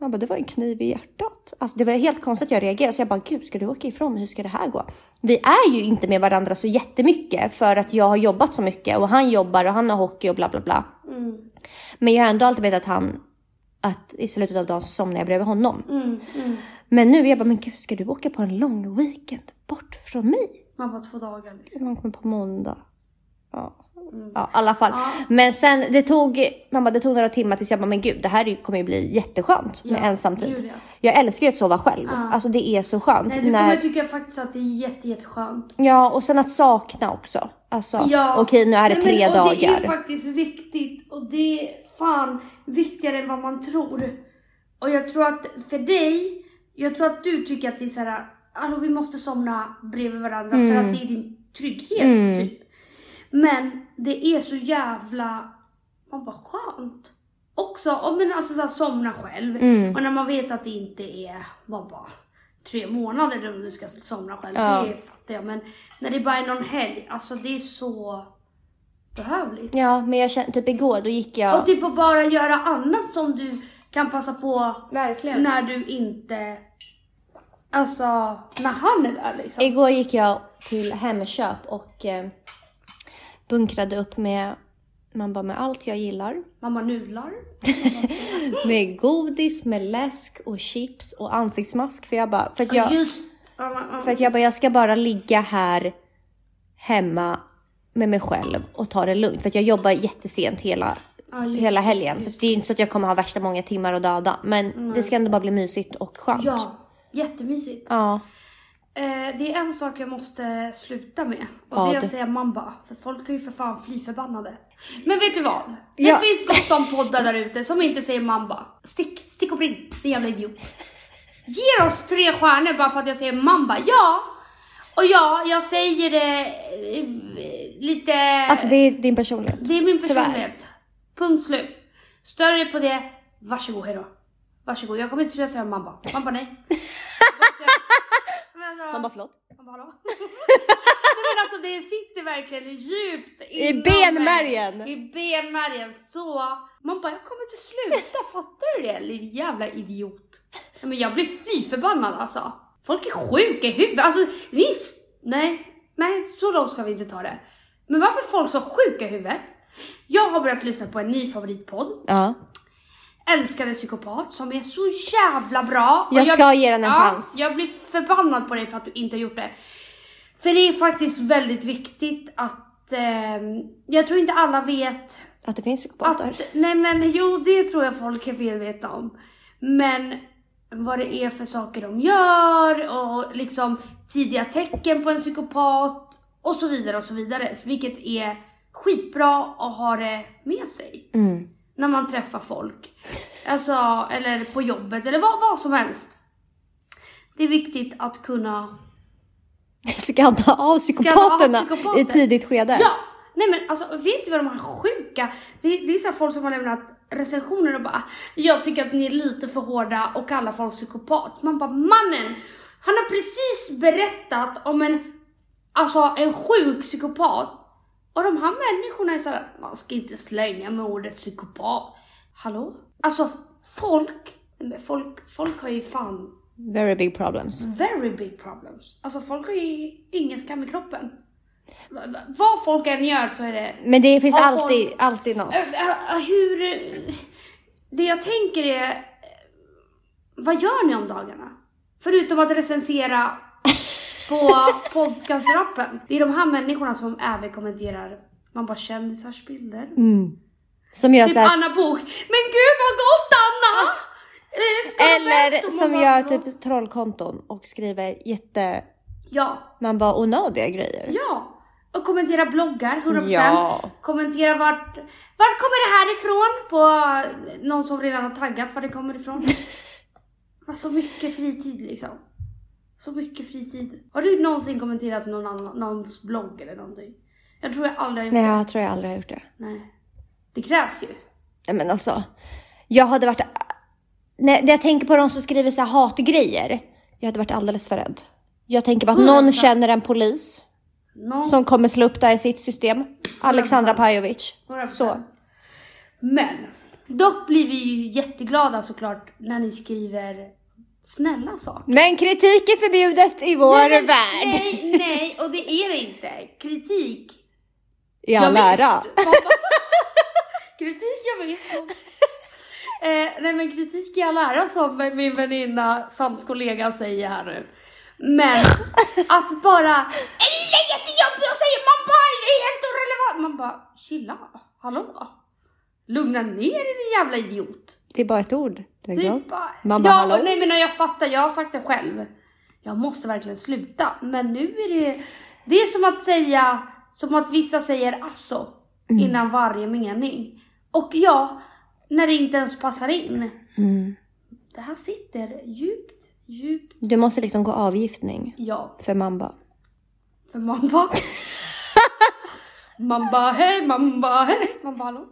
B: man bara, det var en kniv i hjärtat. Alltså, det var helt konstigt att jag reagerade, så jag bara, gud, ska du åka ifrån mig? Hur ska det här gå? Vi är ju inte med varandra så jättemycket för att jag har jobbat så mycket och han jobbar och han har hockey och bla bla bla.
A: Mm,
B: Men jag har ändå alltid vetat att han, att i slutet av dagen så somnar jag bredvid honom.
A: Mm, mm.
B: Men nu, jag bara, men gud, ska du åka på en lång weekend bort från mig?
A: Man bara två dagar liksom.
B: Man kommer på måndag. Ja,
A: Mm.
B: ja i alla fall. Men sen det tog, man bara, det tog några timmar tills jag bara, men gud, det här är ju- kommer ju bli jätteskönt med
A: Ja,
B: ensam typ.
A: gud,
B: tid.
A: ja.
B: Jag älskar ju att sova själv. Alltså det är så skönt.
A: Nej, du kommer
B: när,
A: tycka faktiskt att det är jätte, jätteskönt.
B: ja, och sen att sakna också. Alltså, okej, nu är
A: Nej,
B: det
A: men,
B: tre
A: och Det är ju
B: dagar.
A: faktiskt viktigt och det är fan viktigare än vad man tror. Och jag tror att för dig, jag tror att du tycker att det är så här, alltså vi måste somna bredvid varandra för
B: Mm.
A: att det är din trygghet typ. Men det är så jävla, man bara skönt. Också om man alltså så här, somna själv
B: Mm.
A: och när man vet att det inte är, man bara tre månader om du ska somna själv,
B: Ja.
A: det fattar jag. Men när det bara är någon helg, alltså det är så behövligt.
B: Ja, men jag kände typ igår, då gick
A: Och
B: jag...
A: typ att bara göra annat som du kan passa på
B: Verkligen.
A: när du inte... Alltså, när han är där liksom.
B: Igår gick jag till Hemköp och eh, bunkrade upp med, man bara, med allt jag gillar.
A: Mamma nudlar.
B: Med godis, med läsk och chips och ansiktsmask. För jag bara, för att jag,
A: Just... Ja, men, ja.
B: för att jag, bara, jag ska bara ligga här hemma med mig själv och ta det lugnt. För att jag jobbar jättesent hela,
A: Ja, just Mm.
B: hela helgen. Så det är inte så att jag kommer ha värsta många timmar och döda. Men det ska ändå bara bli mysigt och skönt.
A: ja, jättemysigt.
B: Ja.
A: Eh, det är en sak jag måste sluta med. Och
B: Ja,
A: det är
B: det-
A: att säga mamba. För folk är ju för fan fly förbannade. Men vet du vad? Det
B: Ja.
A: finns gott om poddar där ute som inte säger mamba. Stick, stick och brinn, din jävla idiot. Ge oss tre stjärnor bara för att jag säger mamba. Ja! Och ja, jag säger det eh, lite...
B: Alltså det är din personlighet.
A: Det är min
B: Tyvärr.
A: personlighet. Punkt slut. Stör er på det, varsågod, hejdå. Varsågod, jag kommer inte sluta säga mamba. Mamba nej. Men alltså-
B: Man bara förlåt.
A: man bara, hallå? Nej men alltså det sitter verkligen djupt inom
B: benmärgen.
A: mig. I benmärgen. Så man bara, jag kommer inte sluta, fattar du det? Lille jävla idiot. Nej, Men jag blir fy förbannad alltså. Folk är sjuka i huvudet. Alltså ni... är s- Nej, nej så långt ska vi inte ta det. Men varför är folk så sjuka i huvudet? Jag har börjat lyssna på en ny favoritpodd
B: Ja.
A: älskade psykopat som är så jävla bra. Och
B: Jag ska ge den en chans.
A: Jag blir förbannad på dig för att du inte har gjort det. För det är faktiskt väldigt viktigt att, ehm, jag tror inte alla vet
B: Att det finns psykopater.
A: att, nej men jo det tror jag folk är medvetna om. Men vad det är för saker de gör och liksom tidiga tecken på en psykopat och så vidare och så vidare. Så Vilket är skitbra att ha det med sig.
B: Mm.
A: När man träffar folk. Alltså, eller på jobbet eller vad, vad som helst. Det är viktigt att kunna...
B: Skadda av psykopaterna
A: psykopater.
B: i tidigt skede.
A: Ja! Nej men alltså vet du vad de här sjuka... Det, det är så här folk som har lämnat recensioner och bara “Jag tycker att ni är lite för hårda och kallar folk psykopat”. Man bara “Mannen! Han har precis berättat om en, alltså, en sjuk psykopat” och de här människorna är såhär “Man ska inte slänga med ordet psykopat”. Hallå? Alltså folk, folk, folk har ju fan
B: Very big problems.
A: very big problems. Alltså folk har ju ingen skam i kroppen. Va- va- Vad folk än gör så är det...
B: Men det finns
A: Ja,
B: alltid,
A: folk-
B: alltid något.
A: Äh, äh, Hur... Det jag tänker är... eh, Vad gör ni om dagarna? Förutom att recensera på podcastrappen. Det är de här människorna som även kommenterar man bara kändisars bilder.
B: Som gör
A: Typ
B: så här,
A: Anna Bok. Men gud vad gott Anna! Eh, ska de berätta
B: Eller
A: om
B: som
A: man
B: gör
A: bara-
B: typ trollkonton och skriver jätte...
A: Ja,
B: Man bara onödiga grejer.
A: Ja! Och kommentera bloggar, 100%.
B: Ja.
A: Kommentera vart, vart kommer det här ifrån? På eh, någon som redan har taggat var det kommer ifrån. Men så mycket fritid liksom. Så mycket fritid. Har du någonsin kommenterat någon annan, någons blogg eller någonting? Jag tror jag aldrig har gjort
B: Nej,
A: det.
B: jag tror jag aldrig har gjort det.
A: Nej. Det krävs ju.
B: Nej men alltså. Jag hade varit... När när jag tänker på de som skriver så här hatgrejer. Jag hade varit alldeles för rädd. Jag tänker på att någon känner en polis
A: Någon,
B: som kommer slå upp det här i sitt system. Alexandra Pajovic.
A: 100%.
B: Så.
A: Men. Dock blir vi ju jätteglada såklart när ni skriver snälla saker.
B: Men kritik är förbjudet i vår
A: Nej, men-
B: värld.
A: Nej, nej, och det är det inte. Kritik
B: I all ära.
A: visst. Man bara- kritik, jag visst. Eh, nej men kritik i all ära som min väninna samt kollega säger här nu. Men att bara Elina är jättejobbig och säger man bara är helt irrelevant. Man bara chilla, hallå? Lugna ner dig din jävla idiot.
B: Det är bara ett ord. Det är
A: Typ
B: klart.
A: bara,
B: Liksom. Mamma
A: ja,
B: hallå?
A: och Nej men och jag fattar, jag har sagt det själv. Jag måste verkligen sluta. Men nu är det... Det är som att säga, som att vissa säger asså
B: Mm.
A: innan varje mening. Och ja, när det inte ens passar in.
B: Mm.
A: Det här sitter djupt, djupt.
B: Du måste liksom gå avgiftning.
A: Ja,
B: För man bara...
A: för man bara... man bara hej, man bara hej, man bara hallå.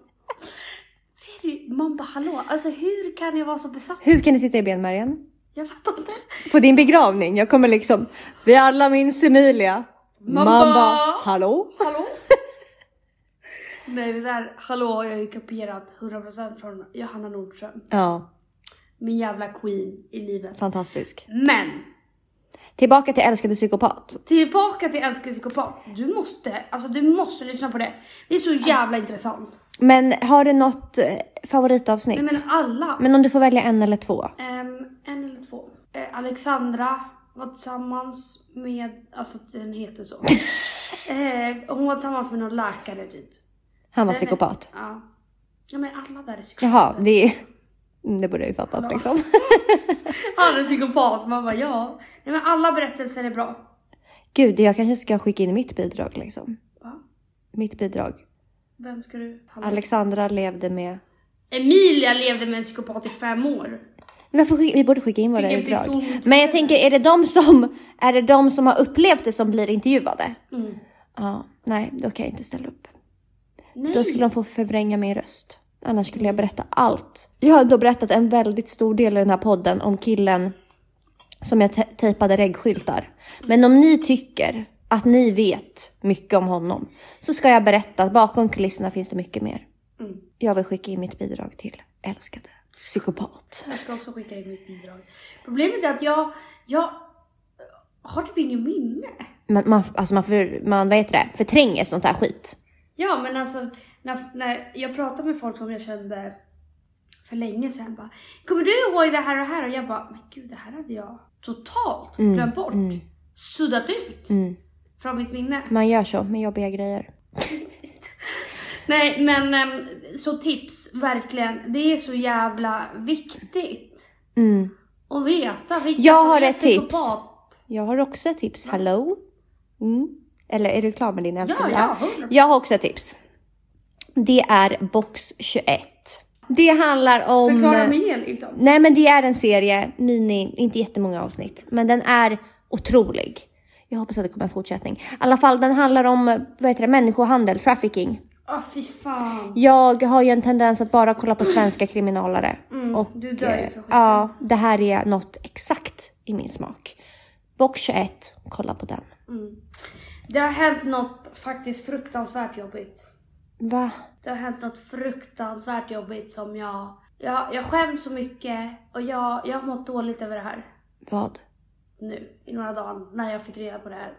A: Ser du, man bara hallå. Alltså hur kan jag vara så besatt?
B: Hur kan du sitta i benmärgen?
A: Jag fattar inte.
B: På din begravning, jag kommer liksom, vi alla minns Emilia. Man
A: Mamma.
B: bara, hallå?
A: Hallå? Nej det där hallå har jag ju kopierat 100% från Johanna Nordström.
B: Ja,
A: Min jävla queen i livet.
B: fantastisk.
A: Men!
B: Tillbaka till älskade psykopat.
A: Tillbaka till Älskade Psykopat. Du måste, alltså du måste lyssna på det. Det är så jävla intressant.
B: Men har du något eh, favoritavsnitt?
A: Nej men alla.
B: Men om du får välja en eller två?
A: Ehm, en eller två. Eh, Alexandra var tillsammans med, alltså den heter så. eh, hon var tillsammans med någon läkare typ.
B: Han var psykopat.
A: Ja. Ja men alla där är psykopater.
B: Jaha, det är... Mm, Det borde jag ju fattat liksom.
A: Han är psykopat. Man bara ja. Nej men alla berättelser är bra.
B: Gud, jag kanske ska skicka in mitt bidrag liksom.
A: Va?
B: Mitt bidrag.
A: Vem ska du ta hand om?
B: Alexandra levde med...
A: Emilia levde med en psykopat i fem år.
B: Vi, får skicka, vi borde skicka in våra
A: Fick en
B: bidrag.
A: pistol mot
B: Men jag tänker, är det, de som, är det de som har upplevt det som blir intervjuade?
A: Mm,
B: Ja, nej, då kan jag inte ställa upp.
A: Nej.
B: Då skulle de få förvränga min röst. Annars skulle jag berätta allt. Jag har då berättat en väldigt stor del i den här podden om killen som jag te- tejpade regskyltar. Men om ni tycker att ni vet mycket om honom så ska jag berätta att bakom kulisserna finns det mycket mer.
A: mm.
B: Jag vill skicka in mitt bidrag till älskade psykopat.
A: Jag ska också skicka in mitt bidrag. Problemet är att jag, jag har typ ingen minne.
B: Man, man, alltså man, för, man vad heter det, förtränger sånt här skit.
A: Ja men alltså när, när jag pratar med folk som jag kände för länge sedan bara Kommer du ihåg det här och här? Och jag bara men gud det här hade jag totalt glömt bort. Suddat ut. Från mitt minne.
B: Man gör så med jobbiga grejer.
A: Nej men ehm, så tips, verkligen. Det är så jävla viktigt
B: Mm.
A: att veta vilka
B: Jag
A: som
B: har
A: är
B: ett tips.
A: psykopat.
B: Jag har också ett tips. Hello? Mm. Eller är du klar med din älskade?
A: ja, hundra.
B: Jag har också ett tips. Det är box 21. Det handlar om...
A: Förklara mig liksom.
B: Nej men det är en serie, mini, inte jättemånga avsnitt. Men den är otrolig. Jag hoppas att det kommer en fortsättning. I alla fall den handlar om vad heter det, människohandel, trafficking.
A: Åh fy fan.
B: Jag har ju en tendens att bara kolla på svenska kriminalare. och,
A: Mm, du dör ju
B: eh,
A: för skiten.
B: Ja, det här är något exakt i min smak. Box 21, kolla på den.
A: Det har hänt något faktiskt fruktansvärt jobbigt.
B: Va?
A: Det har hänt något fruktansvärt jobbigt som jag... Jag, jag skäms så mycket och jag, jag har mått dåligt över det här.
B: Vad?
A: nu i några dagar när jag fick reda på det här.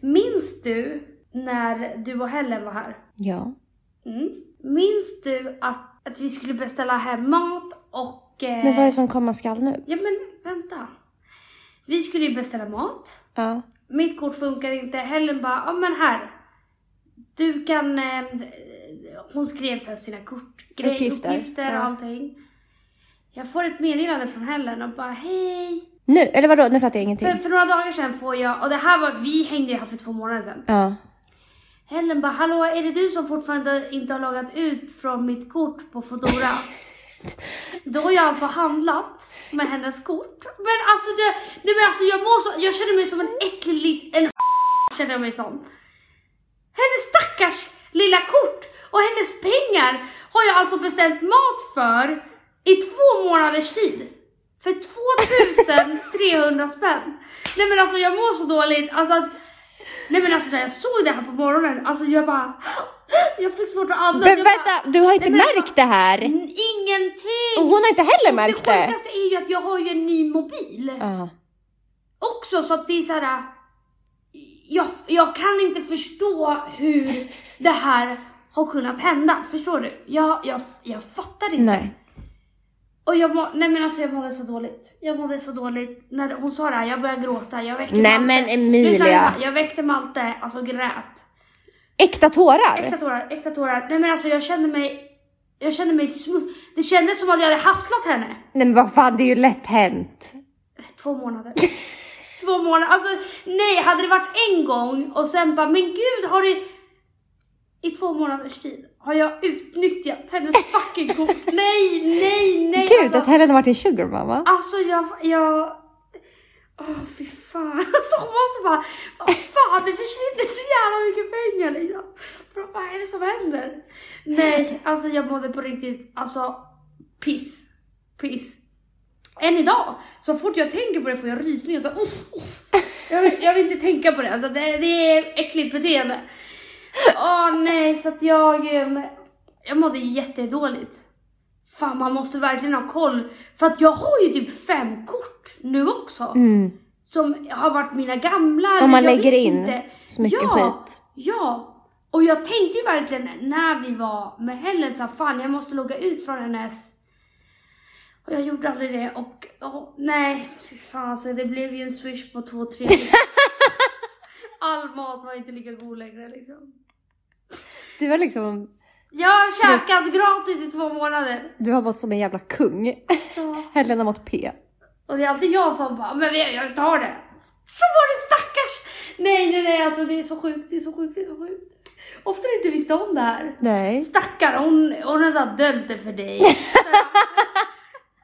A: Minns du när du och Helen var här?
B: Ja.
A: Mm. Minns du att, att vi skulle beställa hem mat och... Eh,
B: Men vad är det som komma skall nu?
A: Ja men vänta. Vi skulle ju beställa mat.
B: Ja.
A: Mitt kort funkar inte. Helen bara, ja men här. Du kan... Eh, hon skrev sen sina kortgrejer,
B: Uppgifter,
A: uppgifter,
B: ja.
A: och allting. Jag får ett meddelande från Helen och bara, hej.
B: Nu? Eller vadå? Nu fattar jag ingenting.
A: För, för några dagar sedan får jag, och det här var, vi hängde ju här för två månader sedan.
B: Ja.
A: Helen bara, hallå är det du som fortfarande inte har loggat ut från mitt kort på Foodora? Då har jag alltså handlat med hennes kort. Men alltså, det, nej men alltså jag, mår så, jag känner mig som en äcklig lit- en känner jag mig som. Hennes stackars lilla kort och hennes pengar har jag alltså beställt mat för i två månaders tid. För 2300 spänn. Nej men alltså jag mår så dåligt. Alltså att, nej men alltså när jag såg det här på morgonen, alltså jag bara... Jag fick svårt att andas.
B: Men
A: Jag bara-
B: vänta, du har inte
A: Nej, men alltså-
B: märkt det här?
A: Ingenting!
B: Och hon har inte heller märkt
A: det
B: det?
A: sjukaste är ju att jag har ju en ny mobil
B: Ja.
A: också så att det är så här. Jag, jag kan inte förstå hur det här har kunnat hända. Förstår du? Jag, jag, jag fattar inte.
B: Nej.
A: Och jag, må, nej men alltså jag mådde så dåligt. Jag mådde så dåligt. När hon sa det här, jag började gråta. Jag väckte
B: Nej, men Emilia.
A: Lyssna, lyssna. Jag väckte Malte, alltså grät.
B: Äkta
A: Äkta
B: tårar?
A: tårar, äkta tårar. Nej men alltså jag kände mig, jag kände mig smuts. Det kändes som att jag hade hasslat henne.
B: Nej men vad fan, det är ju lätt hänt.
A: Två månader. Två månader. Alltså nej, hade det varit en gång och sen bara, men gud har du... I två månaders tid har jag utnyttjat hennes fucking kort. Nej, nej, nej.
B: Gud, att
A: alltså,
B: Helen har varit en sugar mama.
A: alltså jag, jag... Åh fy fan. Alltså hon måste bara, vad fan det försvinner så jävla mycket pengar liksom. För vad är det som händer? Nej, alltså jag mådde på riktigt, alltså piss. Piss. Än idag, så fort jag tänker på det får jag rysningar. Så, uff, uff. Jag, vill, jag vill inte tänka på det. Alltså, det, det är äckligt beteende. Åh nej, så att jag, eh, jag mådde jättedåligt. Fan, man måste verkligen ha koll. För att jag har ju typ fem kort nu också. Som har varit mina gamla. eller
B: Mm. man
A: jag
B: lägger
A: vet
B: in
A: inte.
B: så mycket
A: ja,
B: skit.
A: Ja, och jag tänkte ju verkligen när vi var med Helen så här, fan jag måste logga ut från hennes och jag gjorde aldrig det och, och nej, fy fan alltså det blev ju en swish på två, tre. All mat var inte lika god längre liksom.
B: Du har liksom,
A: Jag har käkat gratis i två månader.
B: du har varit som en jävla kung.
A: Så.
B: Helen har mått P.
A: Och det är alltid jag som bara, men jag- jag tar det. Så var det stackars! Nej, nej, nej, alltså det är så sjukt, det är så sjukt, det är så sjukt. Ofta inte visste om det här.
B: Nej.
A: Stackare, hon, hon har så här dolt det för dig.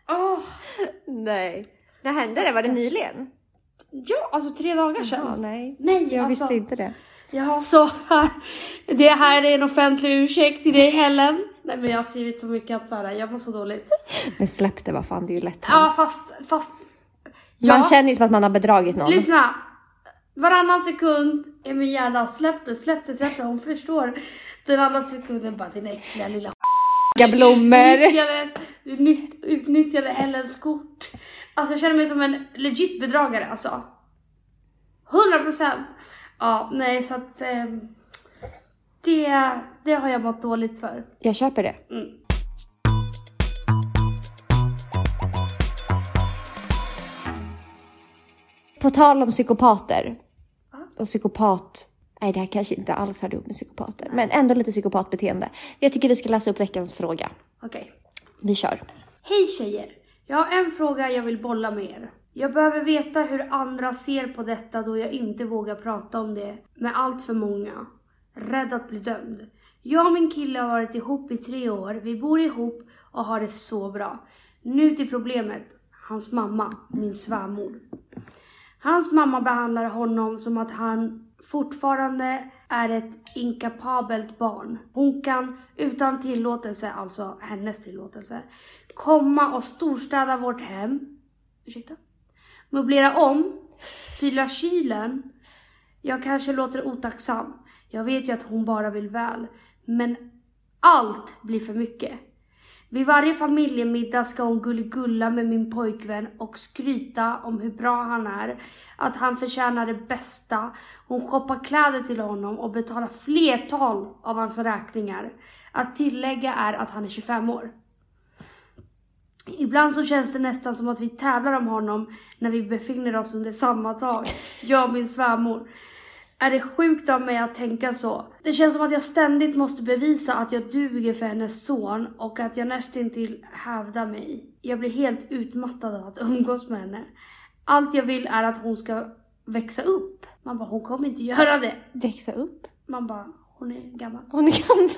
A: Åh,
B: Nej. När hände det? Var det nyligen?
A: ja, alltså tre dagar sedan.
B: Ja, nej.
A: Nej,
B: Jag
A: alltså.
B: visste inte det.
A: Ja, så det här är en offentlig ursäkt till dig Helen. Nej men jag har skrivit så mycket att så här, jag mår så dåligt.
B: Men släpp det, vad fan, det är ju lätt hänt.
A: Ja fast, fast.
B: Man
A: Ja,
B: känner ju som att man har bedragit någon.
A: lyssna. Varannan sekund är min hjärna släpp det, släpp det, släpp det. Hon förstår. Den andra sekunden bara din äckliga lilla
B: Inga blommor.
A: Utnyttjades, utnytt, utnyttjade Helens kort. Alltså jag känner mig som en legit bedragare alltså. 100 procent. Ja, nej så att ehm, det, det har jag mått dåligt för.
B: Jag köper det. På tal om psykopater och psykopat... Nej, det här kanske inte alls hör ihop med psykopater, men ändå lite psykopatbeteende. Jag tycker vi ska läsa upp veckans fråga.
A: Okej.
B: Vi kör.
A: Hej tjejer! Jag har en fråga jag vill bolla med er. Jag behöver veta hur andra ser på detta då jag inte vågar prata om det med allt för många. Rädd att bli dömd. Jag och min kille har varit ihop i tre år. Vi bor ihop och har det så bra. Nu till problemet. Hans mamma, min svärmor. Hans mamma behandlar honom som att han fortfarande är ett inkapabelt barn. Hon kan utan tillåtelse, alltså hennes tillåtelse, komma och storstäda vårt hem. Ursäkta? Möblera om, fylla kylen. Jag kanske låter otacksam. Jag vet ju att hon bara vill väl. Men allt blir för mycket. Vid varje familjemiddag ska hon gulligulla med min pojkvän och skryta om hur bra han är, att han förtjänar det bästa. Hon shoppar kläder till honom och betalar flertal av hans räkningar. Att tillägga är att han är 25 år. Ibland så känns det nästan som att vi tävlar om honom när vi befinner oss under samma tak, jag och min svärmor. Är det sjukt av mig att tänka så? Det känns som att jag ständigt måste bevisa att jag duger för hennes son och att jag nästintill hävdar mig. Jag blir helt utmattad av att umgås med henne. Allt jag vill är att hon ska växa upp. Man bara, hon kommer inte göra det.
B: Växa upp.
A: Man bara, hon är gammal.
B: Hon är gammal.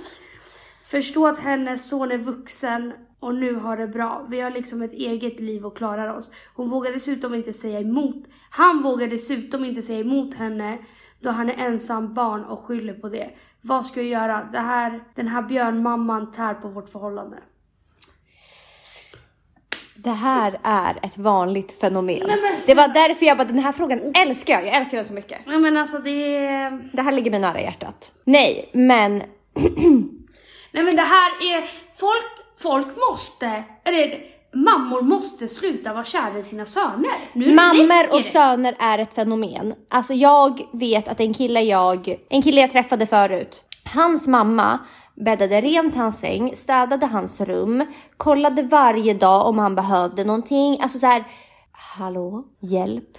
A: Förstå att hennes son är vuxen och nu har det bra. Vi har liksom ett eget liv och klarar oss. Hon vågar dessutom inte säga emot. Han vågar dessutom inte säga emot henne då han är ensam barn och skyller på det. Vad ska jag göra? Det här, den här björnmamman tär på vårt förhållande.
B: Det här är ett vanligt fenomen. det var därför jag bara, den här frågan älskar jag. Jag älskar den så mycket.
A: Nej men alltså det är...
B: Det här ligger mig nära hjärtat. Nej, men
A: Nej men det här är... Folk, folk måste... Eller mammor måste sluta vara kära i sina söner. Nu
B: Mammor
A: räcker det.
B: och söner är ett fenomen. Alltså jag vet att en kille jag, en kille jag träffade förut, hans mamma bäddade rent hans säng, städade hans rum, kollade varje dag om han behövde någonting. Alltså så här, hallå, hjälp.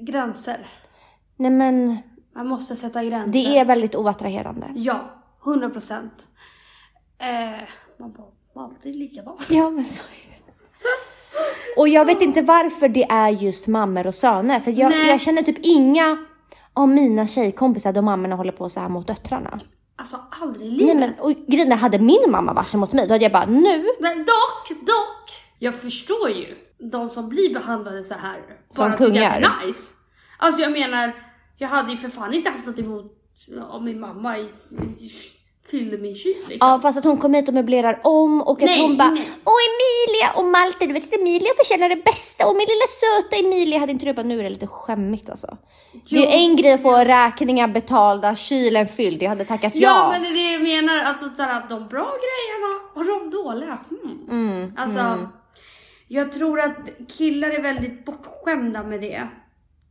A: Gränser.
B: Nej men,
A: Man måste sätta gränser.
B: det är väldigt oattraherande.
A: Ja, 100 procent. Eh, man bara, alltid likadant.
B: Ja, men så är det. Och jag vet inte varför det är just mammor och söner, för jag,
A: Nej.
B: jag känner typ inga av mina tjejkompisar då mammorna håller på så här mot döttrarna.
A: Alltså aldrig i
B: Nej
A: livet.
B: men och grejen är, hade min mamma varit så mot mig då hade jag bara nu.
A: Men dock, dock. Jag förstår ju de som blir behandlade så här.
B: Som
A: bara tycker att det
B: kungar.
A: är Nice. Alltså jag menar, jag hade ju för fan inte haft något emot om min mamma i, i, fyllde min kyl liksom.
B: Ja fast att hon kom hit och möblerar om och att
A: Nej,
B: hon bara
A: nej.
B: Åh Emilia och Malte du vet att Emilia förtjänar det bästa och min lilla söta Emilia hade inte du bara nu är det lite skämmigt alltså. Det är ju en grej att få räkningar betalda, kylen fylld, jag hade tackat ja.
A: Ja men det är det jag menar, alltså så här, att de bra grejerna och de dåliga. Hmm.
B: Mm,
A: alltså, jag tror att killar är väldigt bortskämda med det.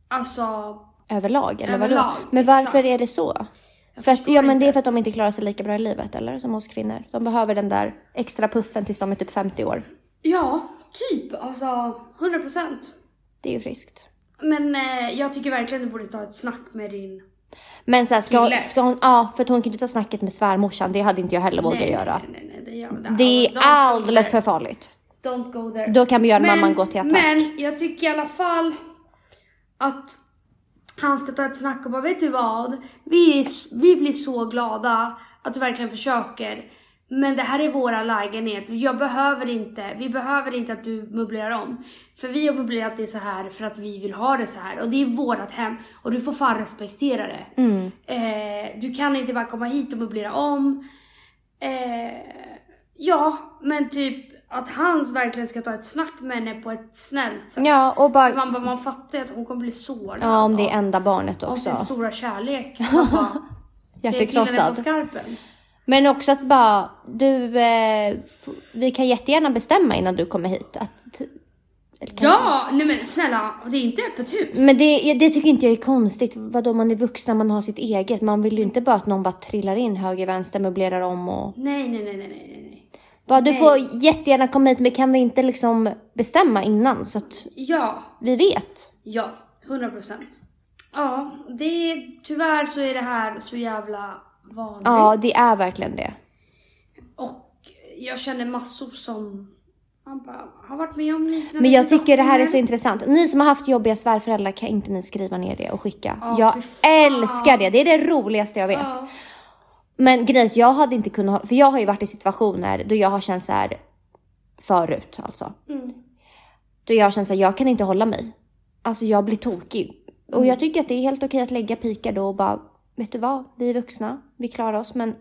A: Alltså,
B: Överlag eller vadå?
A: Överlag,
B: Men
A: exakt.
B: varför är det så? För att, ja men det är för att de inte klarar sig lika bra i livet eller som oss kvinnor. De behöver den där extra puffen tills de är typ 50 år.
A: ja, typ. Alltså, 100 procent.
B: Det är ju friskt.
A: Men eh, jag tycker verkligen du borde ta ett snack med din...
B: Men så här, ska,
A: Kille.
B: ska hon, ja för att hon kan inte ta snacket med svärmorsan, det hade inte jag heller vågat göra.
A: Nej, nej, nej, det gör det.
B: Det är
A: Don't go
B: alldeles
A: there.
B: för farligt.
A: Don't go there.
B: Då kan björnmamman gå till attack.
A: Men jag tycker i alla fall att han ska ta ett snack och bara, vet du vad? Vi, är s- vi blir så glada att du verkligen försöker. Men det här är våra lägenhet. Jag behöver inte, vi behöver inte att du möblerar om. För vi har möblerat det så här för att vi vill ha det så här. Och det är vårt hem. Och du får fan respektera det.
B: Mm.
A: Eh, du kan inte bara komma hit och möblera om. Eh, ja, men typ att han verkligen ska ta ett snack med henne på ett snällt sätt.
B: Ja och bara,
A: Man, bara, man fattar ju att hon kommer bli sårad.
B: Mm. ja om det
A: av-
B: är enda barnet
A: Av sin
B: också.
A: stora kärlek. Man bara, ser killen
B: Hjärtekrossad.
A: på skarpen.
B: Men också att bara, du, eh, vi kan jättegärna bestämma innan du kommer hit. Att, eller kan-
A: Ja, nej men snälla, det är inte öppet hus.
B: Men det, det tycker inte jag är konstigt. Vadå man är vuxna, man har sitt eget. Man vill ju inte bara att någon bara trillar in höger, vänster, möblerar om och...
A: Nej, nej, nej, nej, nej, nej.
B: Bara, du får jättegärna komma hit men kan vi inte liksom bestämma innan så att
A: Ja,
B: vi vet?
A: ja, 100 procent. Ja, det är, tyvärr så är det här så jävla vanligt.
B: Ja, det är verkligen det.
A: Och jag känner massor som han bara, har varit med om liknande
B: Men jag tycker det här är så
A: situationer.
B: intressant. Ni som har haft jobbiga svärföräldrar, kan inte ni skriva ner det och skicka?
A: Ja,
B: jag
A: fy fan.
B: älskar det. Det är det roligaste jag vet.
A: Ja.
B: Men grejen är att jag hade inte kunnat, för jag har ju varit i situationer då jag har känt så här förut alltså.
A: Mm.
B: Då jag har känt så här, jag kan inte hålla mig. Alltså jag blir tokig. Och
A: Mm.
B: jag tycker att det är helt okej att lägga pikar då och bara, vet du vad, vi är vuxna, vi klarar oss men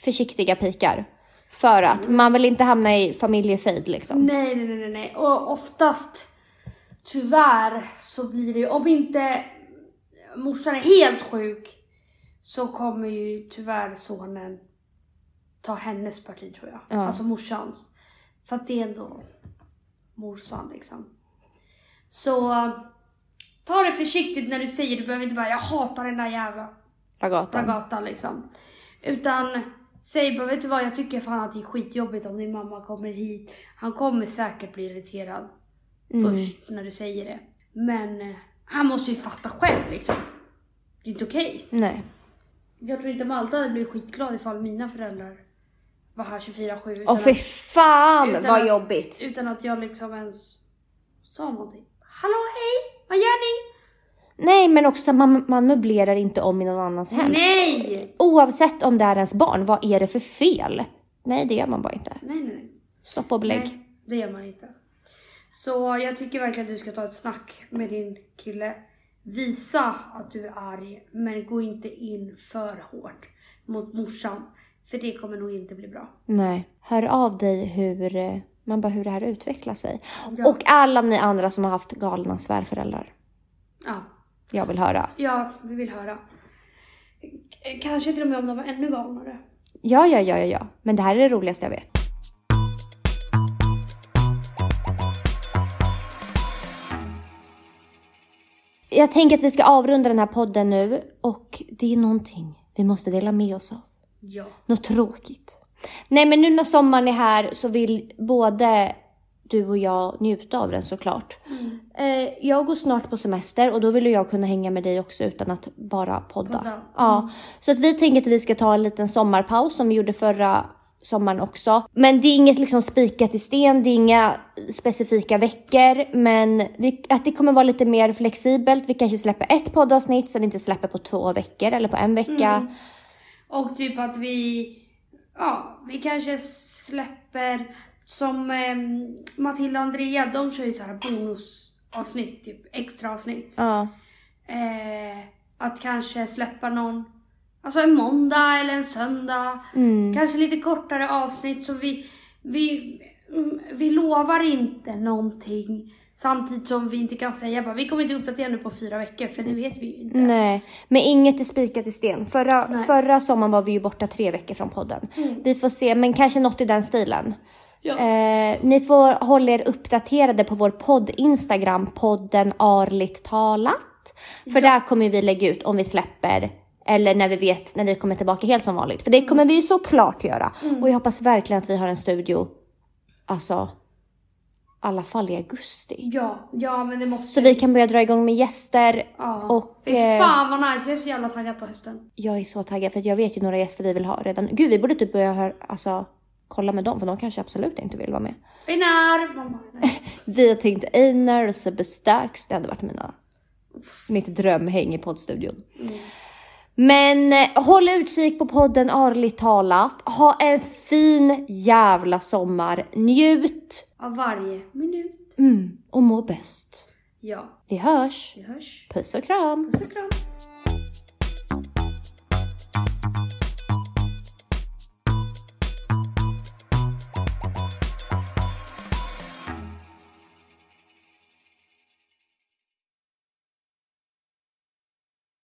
B: försiktiga pikar. För att
A: Mm.
B: man vill inte hamna i familjefejd liksom.
A: Nej, nej, nej, nej, nej. Och oftast, tyvärr, så blir det ju, om inte morsan är helt sjuk, så kommer ju tyvärr sonen ta hennes parti tror jag.
B: Ja.
A: Alltså morsans. För att det är ändå morsan liksom. Så ta det försiktigt när du säger, du behöver inte bara jag hatar den där jävla
B: Ragatan.
A: Ragatan liksom. Utan säg bara, vet du vad jag tycker fan att det är skitjobbigt om din mamma kommer hit. Han kommer säkert bli irriterad
B: Mm.
A: först när du säger det. Men eh, han måste ju fatta själv liksom. Det är inte okej.
B: Nej.
A: Jag tror inte Malta hade blivit skitglad ifall mina föräldrar var här 24-7 utan,
B: Åh fy
A: att,
B: fan
A: utan
B: vad
A: att-
B: jobbigt.
A: utan att jag liksom ens sa någonting. Hallå hej, vad gör ni?
B: Nej men också så här, man, man möblerar inte om i någon annans
A: Mm.
B: hem.
A: Nej!
B: Oavsett om det är ens barn, vad är det för fel? Nej det gör man bara inte.
A: Nej, nej, nej.
B: Stopp och belägg.
A: Nej, det gör man inte. Så jag tycker verkligen att du ska ta ett snack med din kille. Visa att du är arg, men gå inte in för hårt mot morsan. För det kommer nog inte bli bra.
B: Nej. Hör av dig hur, eh, man bara, hur det här utvecklar sig. Och alla ni andra som har haft galna svärföräldrar.
A: Ja,
B: Jag vill höra.
A: ja vi vill höra. K- Kanske till och med om de var ännu galnare.
B: Ja, ja, ja, ja, ja. Men det här är det roligaste jag vet. Jag tänker att vi ska avrunda den här podden nu och det är någonting vi måste dela med oss av.
A: Ja.
B: Något tråkigt. Nej, men nu när sommaren är här så vill både du och jag njuta av den såklart. Eh, jag går snart på semester och då vill ju jag kunna hänga med dig också utan att bara podda.
A: Podda.
B: Ja, så att vi tänker att vi ska ta en liten sommarpaus som vi gjorde förra sommaren också. Men det är inget liksom spikat i sten, det är inga specifika veckor, men vi, att det kommer vara lite mer flexibelt. Vi kanske släpper ett poddavsnitt, sen inte släpper på två veckor eller på en vecka.
A: Och typ att vi, ja, vi kanske släpper som eh, Matilda och Andrea, de kör ju så här bonusavsnitt, typ extra avsnitt.
B: Ja.
A: Eh, att kanske släppa någon, alltså en måndag eller en söndag.
B: Mm.
A: Kanske lite kortare avsnitt så vi, vi, mm, vi lovar inte någonting. Samtidigt som vi inte kan säga bara, vi kommer inte uppdatera nu på fyra veckor för det vet vi ju inte.
B: Nej, men inget är spikat i sten. Förra,
A: Nej. Mm.
B: förra sommaren var vi ju borta tre veckor från podden. Vi får se, men kanske något i den stilen.
A: Ja.
B: Eh, ni får hålla er uppdaterade på vår podd Instagram, podden Arligt talat. För där kommer vi lägga ut om vi släpper eller när vi vet när vi kommer tillbaka helt som vanligt. För det kommer vi ju såklart göra.
A: Mm.
B: Och jag hoppas verkligen att vi har en studio, alltså i alla fall i augusti.
A: Ja, ja men det måste
B: Så vi kan börja dra igång med gäster
A: Ja.
B: och...
A: Fy
B: eh,
A: fan vad nice, jag är så jävla taggad på hösten.
B: Jag är så taggad för att jag vet ju några gäster vi vill ha redan. Gud, vi borde typ börja hör, alltså, kolla med dem för de kanske absolut inte vill vara med.
A: Einar! Mamma, nej.
B: Vi har tänkt Einar och Sebbe Stax. Det hade varit mina, mitt drömhäng i poddstudion. Men eh, håll utkik på podden Arligt talat. Ha en fin jävla sommar. Njut
A: Av varje minut.
B: mm. och må bäst.
A: Ja,
B: Vi hörs.
A: vi hörs.
B: Puss och kram.
A: Puss och kram.